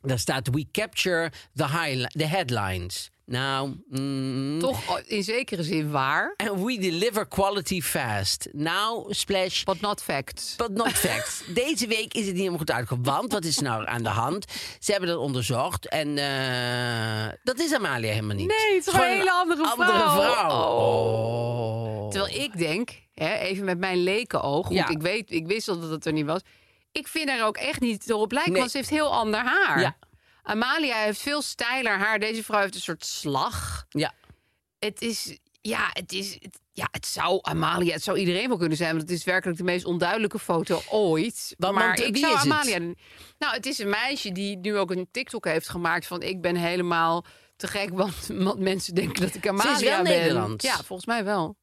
S2: daar staat, we capture the, highli- the headlines. Nou, mm,
S3: Toch in zekere zin waar,
S2: En we deliver quality fast. Nou, Splash,
S3: but not facts.
S2: But not facts. Deze week is het niet helemaal goed uitgekomen. Want wat is er nou aan de hand? Ze hebben dat onderzocht en eh, dat is Amalia helemaal niet.
S3: Nee, het is gewoon een hele andere vrouw.
S2: vrouw. Oh.
S3: Terwijl ik denk, hè, even met mijn lekenoog, want
S2: Ja.
S3: ik, weet, ik wist al dat het er niet was. Ik vind haar ook echt niet erop lijken,
S2: Nee.
S3: want ze heeft heel ander haar.
S2: Ja.
S3: Amalia heeft veel stijler haar. Deze vrouw heeft een soort slag.
S2: Ja.
S3: Het is, ja, het is, het- ja, het zou Amalia, het zou iedereen wel kunnen zijn, want het is werkelijk de meest onduidelijke foto ooit.
S2: Want-
S3: maar
S2: want, eh,
S3: ik
S2: wie
S3: zou
S2: is het?
S3: Amalia. Nou, het is een meisje die nu ook een TikTok heeft gemaakt van ik ben helemaal te gek, want, want mensen denken dat ik Amalia
S2: wel
S3: ben.
S2: Nederlands.
S3: Ja, volgens mij wel.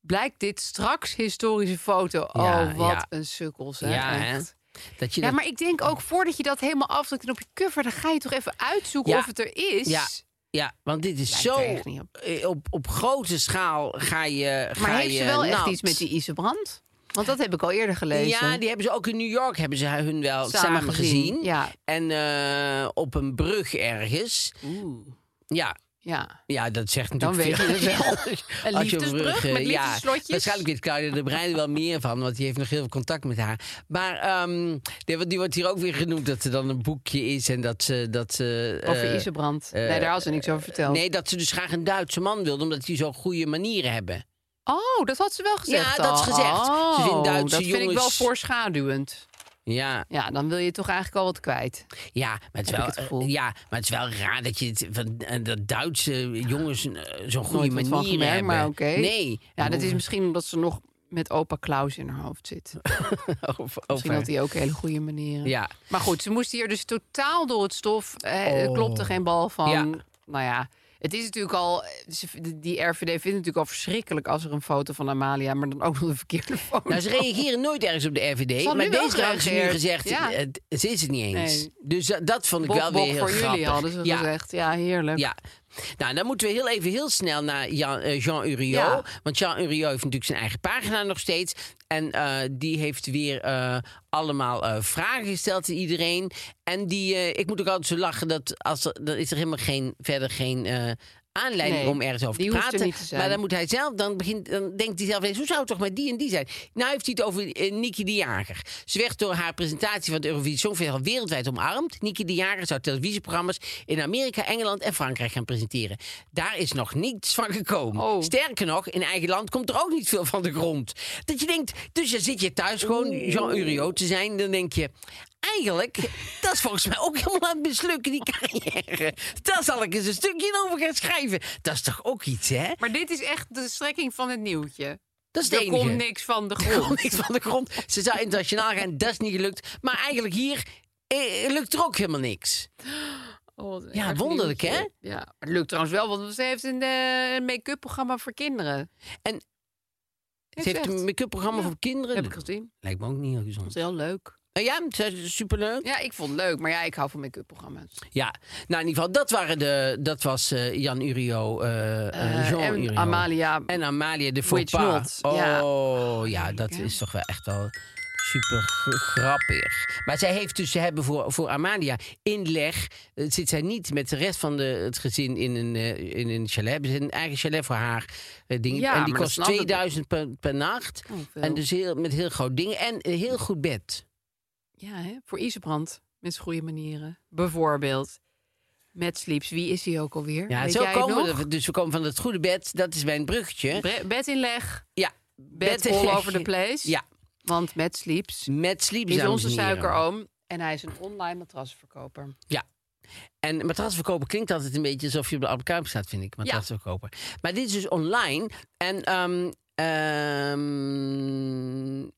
S3: Blijkt dit straks historische foto?
S2: Ja,
S3: oh, wat
S2: ja.
S3: een sukkel zeg.
S2: Ja, hè?
S3: echt.
S2: Dat je
S3: Ja,
S2: dat-
S3: maar ik denk ook voordat je dat helemaal afdrukt en op je cover, dan ga je toch even uitzoeken
S2: Ja.
S3: of het er is.
S2: Ja. ja, want dit is
S3: Lijkt
S2: zo...
S3: er echt niet op.
S2: eh, Op, op grote schaal ga je
S3: Maar
S2: ga
S3: heeft ze
S2: je
S3: wel echt
S2: nat.
S3: iets met die Isebrand? Want dat heb ik al eerder gelezen.
S2: Ja, die hebben ze ook in New York hebben ze hun wel
S3: Samen
S2: samen, gezien.
S3: gezien, ja.
S2: En eh, op een brug ergens.
S3: Oeh.
S2: Ja,
S3: Ja.
S2: Ja, dat zegt
S3: Dan
S2: natuurlijk
S3: weet
S2: veel.
S3: je het wel.
S2: Als je
S3: Een
S2: over
S3: liefdesbrug
S2: bruggen-
S3: met liefdeslotjes.
S2: Ja, waarschijnlijk weet Claudia de Breij er wel meer van, want die heeft nog heel veel contact met haar. Maar ehm, die, wordt- die wordt hier ook weer genoemd dat er dan een boekje is en dat ze... Dat ze
S3: Over
S2: eh,
S3: Isebrand. nee, daar had ze niks over verteld.
S2: Nee, dat ze dus graag een Duitse man wilde, omdat die zo'n goede manieren hebben.
S3: Oh, dat had ze wel gezegd.
S2: dat is
S3: al.
S2: gezegd. Ze vindt
S3: Oh,
S2: Duitse
S3: dat vind ik wel
S2: jongens-
S3: voorschaduwend.
S2: Ja,
S3: Ja, dan wil je toch eigenlijk al wat kwijt.
S2: ja, maar het is
S3: Heb ik
S2: wel,
S3: het gevoel.
S2: eh, ja, maar het is wel raar dat je het, van, eh, dat Duitse jongens eh, zo'n goede manieren
S3: Nooit wat van gemerkt,
S2: hebben.
S3: maar oké.
S2: Nee.
S3: Ja, dat is misschien omdat ze nog met opa Klaus in haar hoofd zit.
S2: Over-
S3: Misschien had hij ook hele goede manieren.
S2: Ja.
S3: Maar goed, ze moest hier dus totaal door het stof. Eh, Er klopte geen bal van.
S2: Oh. Ja.
S3: Nou ja, het is natuurlijk al... ze- Die RVD vindt het natuurlijk al verschrikkelijk... als er een foto van Amalia, maar dan ook nog de verkeerde foto.
S2: Nou, ze reageren nooit ergens op de RVD.
S3: Ze hadden
S2: maar
S3: nu wel
S2: deze keer hebben ze nu
S3: gereageerd.
S2: gezegd, eh,
S3: Ja.
S2: het, ze is het niet eens.
S3: Nee.
S2: Dus dat, dat vond ik
S3: Bok,
S2: wel
S3: bok
S2: weer heel
S3: voor
S2: grappig.
S3: jullie hadden ze
S2: ja.
S3: gezegd. Ja, heerlijk.
S2: Ja, nou dan moeten we heel even heel snel naar Jan, eh, Jean Uriot.
S3: Ja.
S2: Want Jean Uriot heeft natuurlijk zijn eigen pagina nog steeds. En eh, die heeft weer eh, allemaal eh, vragen gesteld aan iedereen. En die, eh, ik moet ook altijd zo lachen, dat als er, dan is er helemaal geen, verder geen eh, aanleiding
S3: Nee,
S2: om ergens over
S3: die
S2: te
S3: hoeft er
S2: praten.
S3: niet te zijn.
S2: Maar dan moet hij zelf, dan, begint, dan denkt hij zelf eens, hoe zou het toch maar die en die zijn? Nou heeft hij het over eh, Nicky de Jager. Ze werd door haar presentatie van het Eurovisie Songfestival wereldwijd omarmd. Nicky de Jager zou televisieprogramma's in Amerika, Engeland en Frankrijk gaan presenteren. Daar is nog niets van gekomen.
S3: Oh.
S2: Sterker nog, in eigen land komt er ook niet veel van de grond. Dat je denkt, dus dan zit je thuis gewoon Jean Uriot te zijn. Dan denk je, eigenlijk, dat is volgens mij ook helemaal aan het mislukken, die carrière. Daar zal ik eens een stukje over gaan schrijven. Dat is toch ook iets, hè?
S3: Maar dit is echt de strekking van het nieuwtje.
S2: Dat is het
S3: er
S2: enige.
S3: komt niks van de
S2: Er
S3: grond.
S2: komt niks van de grond. Ze zou internationaal gaan, dat is niet gelukt. Maar eigenlijk hier eh, lukt er ook helemaal niks.
S3: Oh, wat een
S2: Ja,
S3: erg
S2: wonderlijk,
S3: nieuwtje.
S2: hè?
S3: Ja, maar het lukt trouwens wel, want ze heeft een eh, een make-up programma voor kinderen.
S2: En
S3: Heeft
S2: Ze heeft
S3: echt.
S2: een make-up programma
S3: Ja,
S2: voor kinderen.
S3: heb ik gezien.
S2: Lijkt me ook niet heel
S3: Dat
S2: gezond.
S3: is heel leuk.
S2: Eh, Ja, ze is superleuk.
S3: Ja, ik vond het leuk, maar ja, ik hou van make-up programma's.
S2: Ja, nou in ieder geval, dat, waren de, dat was eh, Jan Urio, eh, eh,
S3: Eh,
S2: Jean
S3: en
S2: Urio.
S3: Amalia.
S2: En Amalia de
S3: Which
S2: faux pas.
S3: not, ja.
S2: Oh, ja, dat
S3: hè?
S2: is toch wel echt wel super g- grappig. Maar zij heeft dus, ze hebben voor, voor Amalia inleg. eh, Zit zij niet met de rest van de, het gezin in een, eh, in een chalet. Hebben ze een eigen chalet voor haar eh, ding.
S3: Ja,
S2: en die
S3: maar dat
S2: kost
S3: snap ik.
S2: 2000 per, per nacht.
S3: Oh, veel.
S2: en dus heel, met heel groot ding. En een heel goed bed.
S3: Ja, hè? voor Isebrand. Met zijn goede manieren. Bijvoorbeeld. Met Sleeps. Wie is hij ook alweer?
S2: Ja,
S3: Weet
S2: zo
S3: jij het
S2: komen
S3: nog?
S2: we. er- Dus we komen van het goede bed. Dat is mijn bruggetje.
S3: Bre- Bed inleg.
S2: ja.
S3: Bed all over the place.
S2: Ja,
S3: Want met Sleeps
S2: met sleep
S3: is
S2: dames
S3: onze
S2: en heren.
S3: suikeroom. En hij is een online matrasverkoper.
S2: Ja. En matrasverkoper klinkt altijd een beetje alsof je op de Albert staat, vind ik. Matrasverkoper. Maar dit is dus online. En ehm, ehm,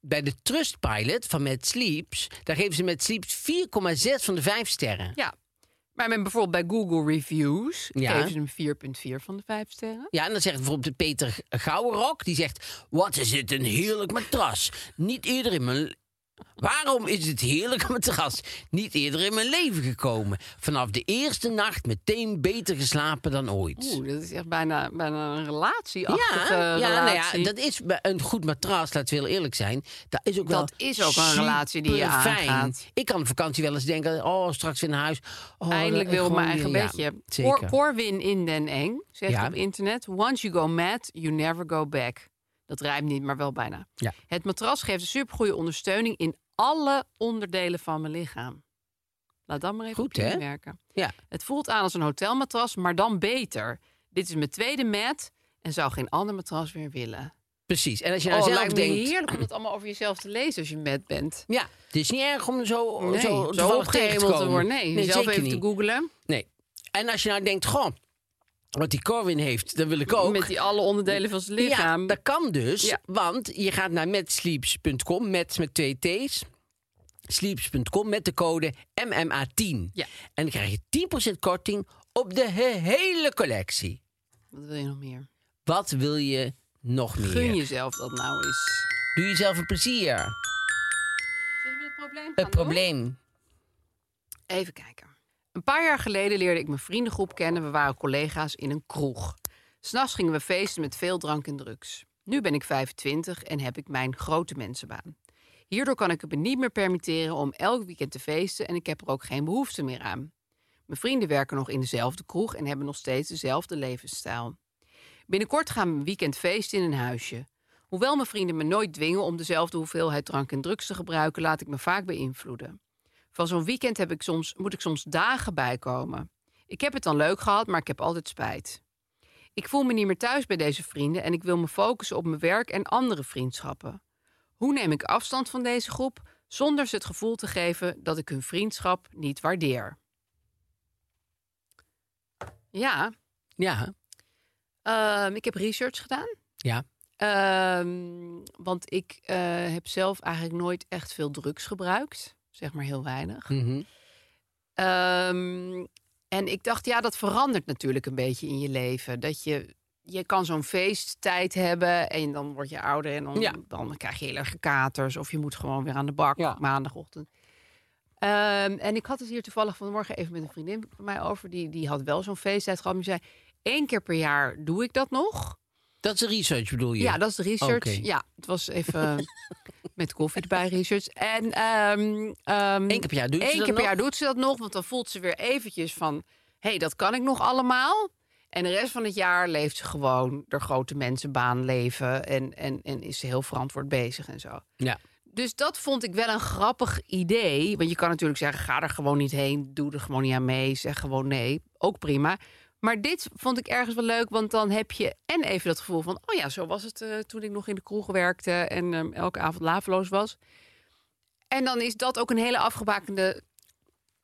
S2: bij de Trustpilot van Met Sleeps... daar geven ze Met Sleeps 4,6 van de 5 sterren.
S3: Ja. Maar men bijvoorbeeld bij Google Reviews
S2: Ja.
S3: geven ze hem 4,4 van de 5 sterren.
S2: Ja, en dan zegt bijvoorbeeld Peter Gouwenrok... die zegt, wat is dit een heerlijk matras. Niet eerder in mijn... Waarom is het heerlijke matras niet eerder in mijn leven gekomen? Vanaf de eerste nacht meteen beter geslapen dan ooit.
S3: Oeh, dat is echt bijna, bijna een relatieachtige
S2: Ja, ja, nou ja,
S3: relatie.
S2: dat is bij een goed matras, laten we heel eerlijk zijn. Dat is ook
S3: Dat
S2: wel
S3: is ook een relatie die je
S2: superfijn.
S3: aangaat.
S2: Ik kan op vakantie wel eens denken, oh, straks weer naar huis. Oh,
S3: Eindelijk
S2: dat-
S3: wil ik mijn
S2: gewoon
S3: eigen
S2: weer- Ja,
S3: bedje. Cor-
S2: zeker.
S3: Corwin in Den Eng zegt
S2: Ja.
S3: op internet... Once you go mad, you never go back. Dat rijmt niet, maar wel bijna.
S2: Ja.
S3: Het matras geeft een supergoeie ondersteuning... in alle onderdelen van mijn lichaam. Laat dat maar even
S2: Goed,
S3: op je
S2: hè?
S3: werken.
S2: Ja.
S3: Het voelt aan als een hotelmatras, maar dan beter. Dit is mijn tweede mat en zou geen ander matras meer willen.
S2: precies. En als je nou
S3: oh,
S2: zelf
S3: lijkt me
S2: denkt...
S3: heerlijk om dat allemaal over jezelf te lezen als je mat bent.
S2: Ja, het is niet erg om Oh, zo,
S3: Nee,
S2: zo,
S3: zo
S2: toevallig tegen
S3: opgehemeld te worden. Nee, jezelf
S2: zeker
S3: even
S2: niet.
S3: te googlen.
S2: Nee. En als je nou denkt, goh, wat die Corwin heeft, dat wil ik ook.
S3: Met die alle onderdelen van zijn lichaam.
S2: Ja, dat kan dus.
S3: Ja.
S2: Want je gaat naar metsleeps.com, met met twee t's. Sleeps.com met de code MMA10.
S3: Ja.
S2: En dan krijg je 10% korting op de hele collectie.
S3: Wat wil je nog meer?
S2: Wat wil je nog meer?
S3: Gun jezelf dat nou eens.
S2: Doe jezelf een plezier.
S3: Zullen we het probleem
S2: Het probleem.
S3: Even kijken. Een paar jaar geleden leerde ik mijn vriendengroep kennen. We waren collega's in een kroeg. S'nachts gingen we feesten met veel drank en drugs. Nu ben ik 25 en heb ik mijn grote mensenbaan. Hierdoor kan ik het me niet meer permitteren om elk weekend te feesten en ik heb er ook geen behoefte meer aan. Mijn vrienden werken nog in dezelfde kroeg en hebben nog steeds dezelfde levensstijl. Binnenkort gaan we een weekend feesten in een huisje. Hoewel mijn vrienden me nooit dwingen om dezelfde hoeveelheid drank en drugs te gebruiken, laat ik me vaak beïnvloeden. Van zo'n weekend heb ik soms, moet ik soms dagen bijkomen. Ik heb het dan leuk gehad, maar ik heb altijd spijt. Ik voel me niet meer thuis bij deze vrienden en ik wil me focussen op mijn werk en andere vriendschappen. Hoe neem ik afstand van deze groep zonder ze het gevoel te geven dat ik hun vriendschap niet waardeer? Ja,
S2: Ja,
S3: ehm, ik heb research gedaan.
S2: ja.
S3: Ehm, want ik eh, heb zelf eigenlijk nooit echt veel drugs gebruikt. Zeg maar heel weinig.
S2: mhm.
S3: Ehm, en ik dacht, ja, dat verandert natuurlijk een beetje in je leven. Dat je, je kan zo'n feesttijd hebben en dan word je ouder en dan,
S2: Ja.
S3: dan krijg je heel erg katers. Of je moet gewoon weer aan de bak
S2: Ja.
S3: maandagochtend. Ehm, en ik had het hier toevallig vanmorgen even met een vriendin van mij over. Die, die had wel zo'n feesttijd gehad. Maar die zei, één keer per jaar doe ik dat nog.
S2: Dat is research bedoel je?
S3: Ja, dat is de research.
S2: Oké.
S3: Ja, het was even met koffie erbij research. En ehm ehm,
S2: Eén keer per jaar doet ze
S3: één
S2: dat
S3: keer
S2: nog?
S3: per jaar doet ze dat nog, want dan voelt ze weer eventjes van... hé, hey, dat kan ik nog allemaal. En de rest van het jaar leeft ze gewoon door grote mensenbaan leven... En, en, en is ze heel verantwoord bezig en zo.
S2: Ja.
S3: Dus dat vond ik wel een grappig idee. Want je kan natuurlijk zeggen, ga er gewoon niet heen. Doe er gewoon niet aan mee. Zeg gewoon nee. Ook prima. Maar dit vond ik ergens wel leuk. Want dan heb je en even dat gevoel van... oh ja, zo was het eh, toen ik nog in de kroeg werkte... en ehm, elke avond laveloos was. En dan is dat ook een hele afgebakende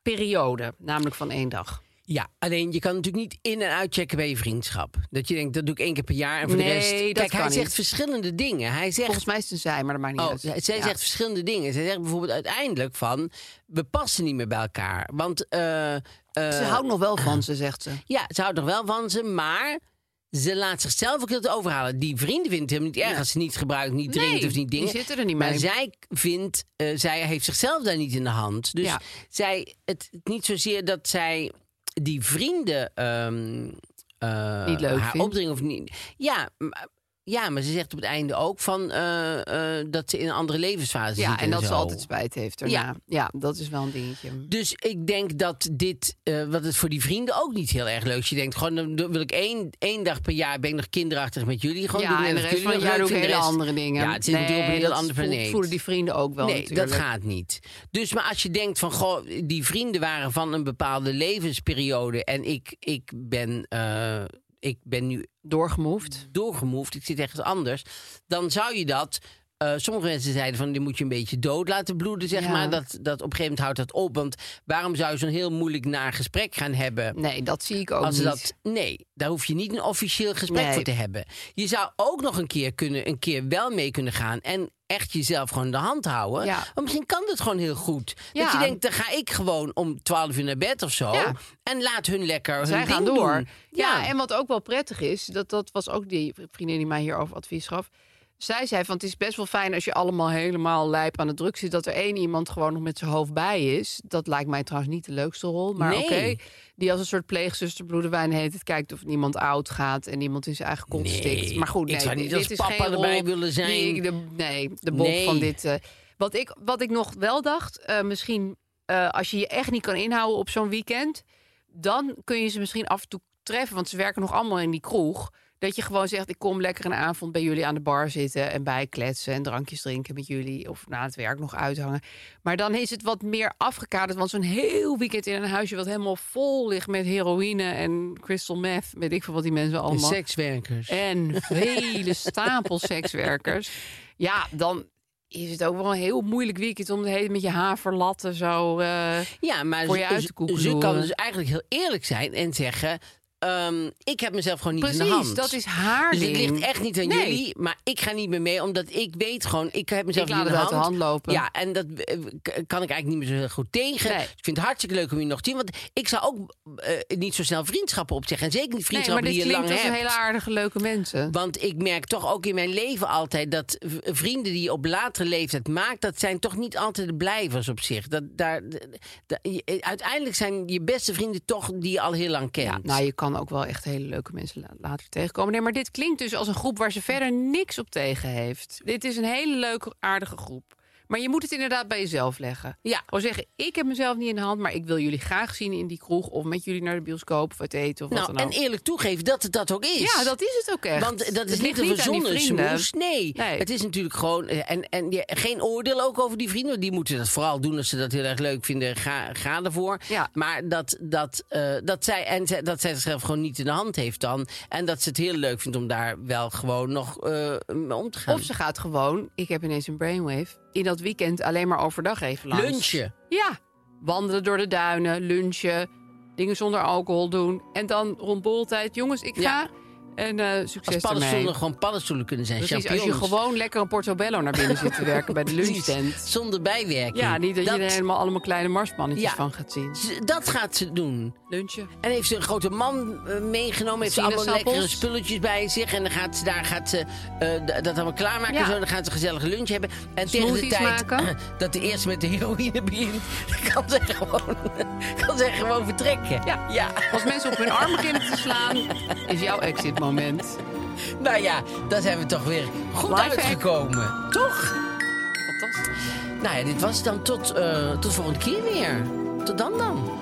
S3: periode. Namelijk van één dag.
S2: Ja, alleen je kan natuurlijk niet in- en uitchecken bij je vriendschap. Dat je denkt, dat doe ik één keer per jaar en voor de
S3: Nee,
S2: rest...
S3: dat
S2: Kijk, hij
S3: kan
S2: zegt
S3: niet.
S2: verschillende dingen. Hij zegt...
S3: Volgens mij is het een zij, maar dat maakt niet
S2: Oh,
S3: uit.
S2: zij zij
S3: Ja.
S2: zegt verschillende dingen. Zij zegt bijvoorbeeld uiteindelijk van... we passen niet meer bij elkaar. Want eh, eh,
S3: Ze houdt nog wel van ze, zegt ze.
S2: ja, ze houdt nog wel van ze, maar... Ze laat zichzelf ook heel te overhalen. Die vrienden vindt hem niet erg als ze niet gebruikt, niet drinkt
S3: Nee,
S2: of niet
S3: die
S2: dingen.
S3: zitten er niet
S2: maar
S3: mee.
S2: zij vindt, eh, zij heeft zichzelf daar niet in de hand. Dus
S3: Ja.
S2: zij, het niet zozeer dat zij die vrienden ehm, eh,
S3: Niet leuk
S2: haar
S3: vindt.
S2: opdringen of niet. Ja, maar- ja, maar ze zegt op het einde ook van eh, eh, dat ze in een andere levensfase zit.
S3: Ja, en dat ze
S2: zo.
S3: altijd spijt heeft daarna.
S2: Ja.
S3: Ja, dat is wel een dingetje.
S2: Dus ik denk dat dit, eh, wat het voor die vrienden ook niet heel erg leuk is. Je denkt gewoon, dan wil ik één, één dag per jaar ben ik nog kinderachtig met jullie. Gewoon
S3: ja,
S2: doen
S3: en
S2: net
S3: de
S2: jullie
S3: rest van het
S2: nog
S3: jaar
S2: leuk
S3: doe ik
S2: vinden.
S3: hele
S2: De rest-
S3: andere dingen.
S2: Ja, het zit natuurlijk op een heel
S3: dat
S2: andere
S3: voelt-
S2: planeet.
S3: voelen die vrienden ook wel
S2: nee,
S3: natuurlijk.
S2: dat gaat niet. Dus maar als je denkt van, goh, die vrienden waren van een bepaalde levensperiode en ik, ik, ben, eh, ik ben nu
S3: Doorgemoefd.
S2: doorgemoefd, ik zit ergens anders, dan zou je dat. eh, sommige mensen zeiden van, die moet je een beetje dood laten bloeden, zeg
S3: Ja.
S2: maar. Dat, dat op een gegeven moment houdt dat op. Want waarom zou je zo'n heel moeilijk naar gesprek gaan hebben?
S3: Nee, dat zie ik ook
S2: als
S3: niet.
S2: dat, nee, daar hoef je niet een officieel gesprek
S3: Nee.
S2: voor te hebben. Je zou ook nog een keer, kunnen, een keer wel mee kunnen gaan en echt jezelf gewoon de hand houden.
S3: Ja.
S2: Want misschien kan dat gewoon heel goed. Dat
S3: Ja.
S2: je denkt, dan ga ik gewoon om 12 uur naar bed of zo.
S3: Ja.
S2: En laat hun lekker hun
S3: Zij
S2: ding
S3: gaan door.
S2: doen.
S3: Ja. en wat ook wel prettig is, dat, dat was ook die vriendin die mij hierover advies gaf. Zij zei van het is best wel fijn als je allemaal helemaal lijp aan de druk zit. Dat er één iemand gewoon nog met zijn hoofd bij is. Dat lijkt mij trouwens niet de leukste rol. Maar
S2: Nee.
S3: oké, die als een soort pleegzuster Bloedewijn heet. Het kijkt of niemand oud gaat en niemand in zijn eigen kont
S2: Nee,
S3: stikt. Maar goed,
S2: ik
S3: nee,
S2: zou niet
S3: dit
S2: als
S3: is
S2: papa
S3: geen
S2: erbij
S3: rol
S2: willen zijn.
S3: die ik de, nee, de bob
S2: Nee.
S3: van dit. eh, wat, ik, wat ik nog wel dacht, eh, misschien eh, als je je echt niet kan inhouden op zo'n weekend, dan kun je ze misschien af en toe treffen, want ze werken nog allemaal in die kroeg. Dat je gewoon zegt, ik kom lekker een avond bij jullie aan de bar zitten en bijkletsen en drankjes drinken met jullie of na het werk nog uithangen. Maar dan is het wat meer afgekaderd, want zo'n heel weekend in een huisje wat helemaal vol ligt met heroïne en crystal meth, weet ik veel wat die mensen
S2: En
S3: allemaal.
S2: sekswerkers.
S3: En vele stapels sekswerkers. Ja, dan is het ook wel een heel moeilijk weekend om de hele met je haverlatten zo. eh,
S2: Ja, maar
S3: Voor
S2: ze-
S3: je uit te koeken
S2: ze
S3: door.
S2: kan dus eigenlijk heel eerlijk zijn en zeggen... ehm, ik heb mezelf gewoon niet in de
S3: Precies,
S2: hand.
S3: dat is haar
S2: Dus het
S3: ding.
S2: ligt echt niet aan
S3: Nee.
S2: jullie, maar ik ga niet meer mee, omdat ik weet gewoon, ik heb mezelf
S3: Ik
S2: niet in
S3: laat
S2: de
S3: het uit
S2: hand.
S3: de hand lopen.
S2: Ja, en dat eh, k- kan ik eigenlijk niet meer zo heel goed tegen.
S3: Nee.
S2: Dus ik vind het hartstikke leuk om je nog te zien, want ik zou ook eh, niet zo snel vriendschappen opzeggen. En zeker niet
S3: Nee, maar
S2: vriendschappen
S3: dit
S2: die je
S3: klinkt
S2: lang
S3: als een
S2: hebt.
S3: hele aardige, leuke mensen.
S2: Want ik merk toch ook in mijn leven altijd dat v- vrienden die je op latere leeftijd maakt, dat zijn toch niet altijd de blijvers op zich. Dat, daar, d- d- je- eh, uiteindelijk zijn je beste vrienden toch die je al heel lang kent.
S3: Ja, nou, je kan ook wel echt hele leuke mensen la- later tegenkomen. Nee, maar dit klinkt dus als een groep waar ze verder niks op tegen heeft. Dit is een hele leuke, aardige groep. Maar je moet het inderdaad bij jezelf leggen.
S2: Ja.
S3: Of zeggen, ik heb mezelf niet in de hand, maar ik wil jullie graag zien in die kroeg. Of met jullie naar de bioscoop of uit eten of
S2: Nou,
S3: wat dan
S2: en
S3: ook.
S2: eerlijk toegeven dat het dat ook is.
S3: ja, dat is het ook echt.
S2: Want dat
S3: Het
S2: is
S3: ligt
S2: niet een
S3: aan die
S2: verzonnen
S3: vrienden.
S2: smoes. Nee.
S3: Nee.
S2: het is natuurlijk gewoon... eh, En, en je- geen oordeel ook over die vrienden. want Die moeten dat vooral doen als ze dat heel erg leuk vinden. Ga, ga ervoor.
S3: Ja.
S2: Maar dat, dat, eh, dat, zij, en zij, dat zij zichzelf gewoon niet in de hand heeft dan. En dat ze het heel leuk vindt om daar wel gewoon nog eh, mee om te gaan.
S3: Of ze gaat gewoon, ik heb ineens een brainwave, in dat weekend alleen maar overdag even langs.
S2: lunchen.
S3: Ja, wandelen door de duinen, lunchen, dingen zonder alcohol doen. En dan rond boltijd, jongens, ik ga.
S2: Ja.
S3: En eh,
S2: Als
S3: succes ermee.
S2: paddenstoelen gewoon paddenstoelen kunnen zijn.
S3: Precies, als je
S2: champignons.
S3: gewoon lekker een portobello naar binnen zit te werken bij de
S2: Precies.
S3: lunchtent.
S2: Zonder bijwerking.
S3: Ja, niet dat, je er helemaal allemaal kleine marspannetjes
S2: Ja.
S3: van gaat zien.
S2: Z- Dat gaat ze doen.
S3: Lunchen.
S2: En heeft ze een grote man eh, meegenomen. Heeft ze allemaal
S3: Sinaasappels.
S2: lekkere spulletjes bij zich. En dan gaat ze daar gaat ze, eh, d- dat allemaal klaarmaken.
S3: Ja.
S2: en Zo, dan gaan ze een gezellige lunch hebben. En tegen de
S3: Smoothies
S2: tijd
S3: maken.
S2: dat de eerste met de heroïne begint... kan ze gewoon, kan ze gewoon vertrekken.
S3: Ja.
S2: ja.
S3: Als mensen op hun arm beginnen te slaan, is jouw exit moment.
S2: Nou ja, daar zijn we toch weer goed
S3: Lifehack.
S2: uitgekomen. Toch?
S3: Fantastisch.
S2: Nou ja, dit was het dan tot, eh tot volgende keer weer. Tot dan dan.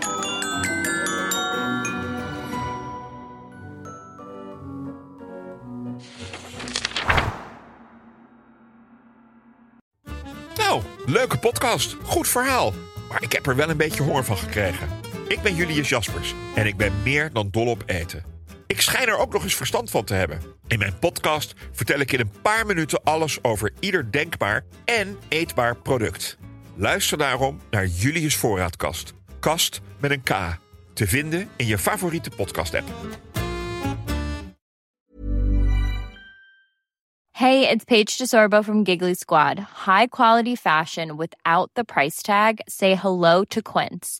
S4: Nou, leuke podcast. Goed verhaal. Maar ik heb er wel een beetje honger van gekregen. Ik ben Julius Jaspers en ik ben meer dan dol op eten. Ik schijn er ook nog eens verstand van te hebben. In mijn podcast vertel ik in een paar minuten alles over ieder denkbaar en eetbaar product. Luister daarom naar Julius Voorraadkast. Kast met een K. Te vinden in je favoriete podcast-app.
S5: Hey, it's Paige DeSorbo from Giggly Squad. High quality fashion without the price tag. Say hello to Quince.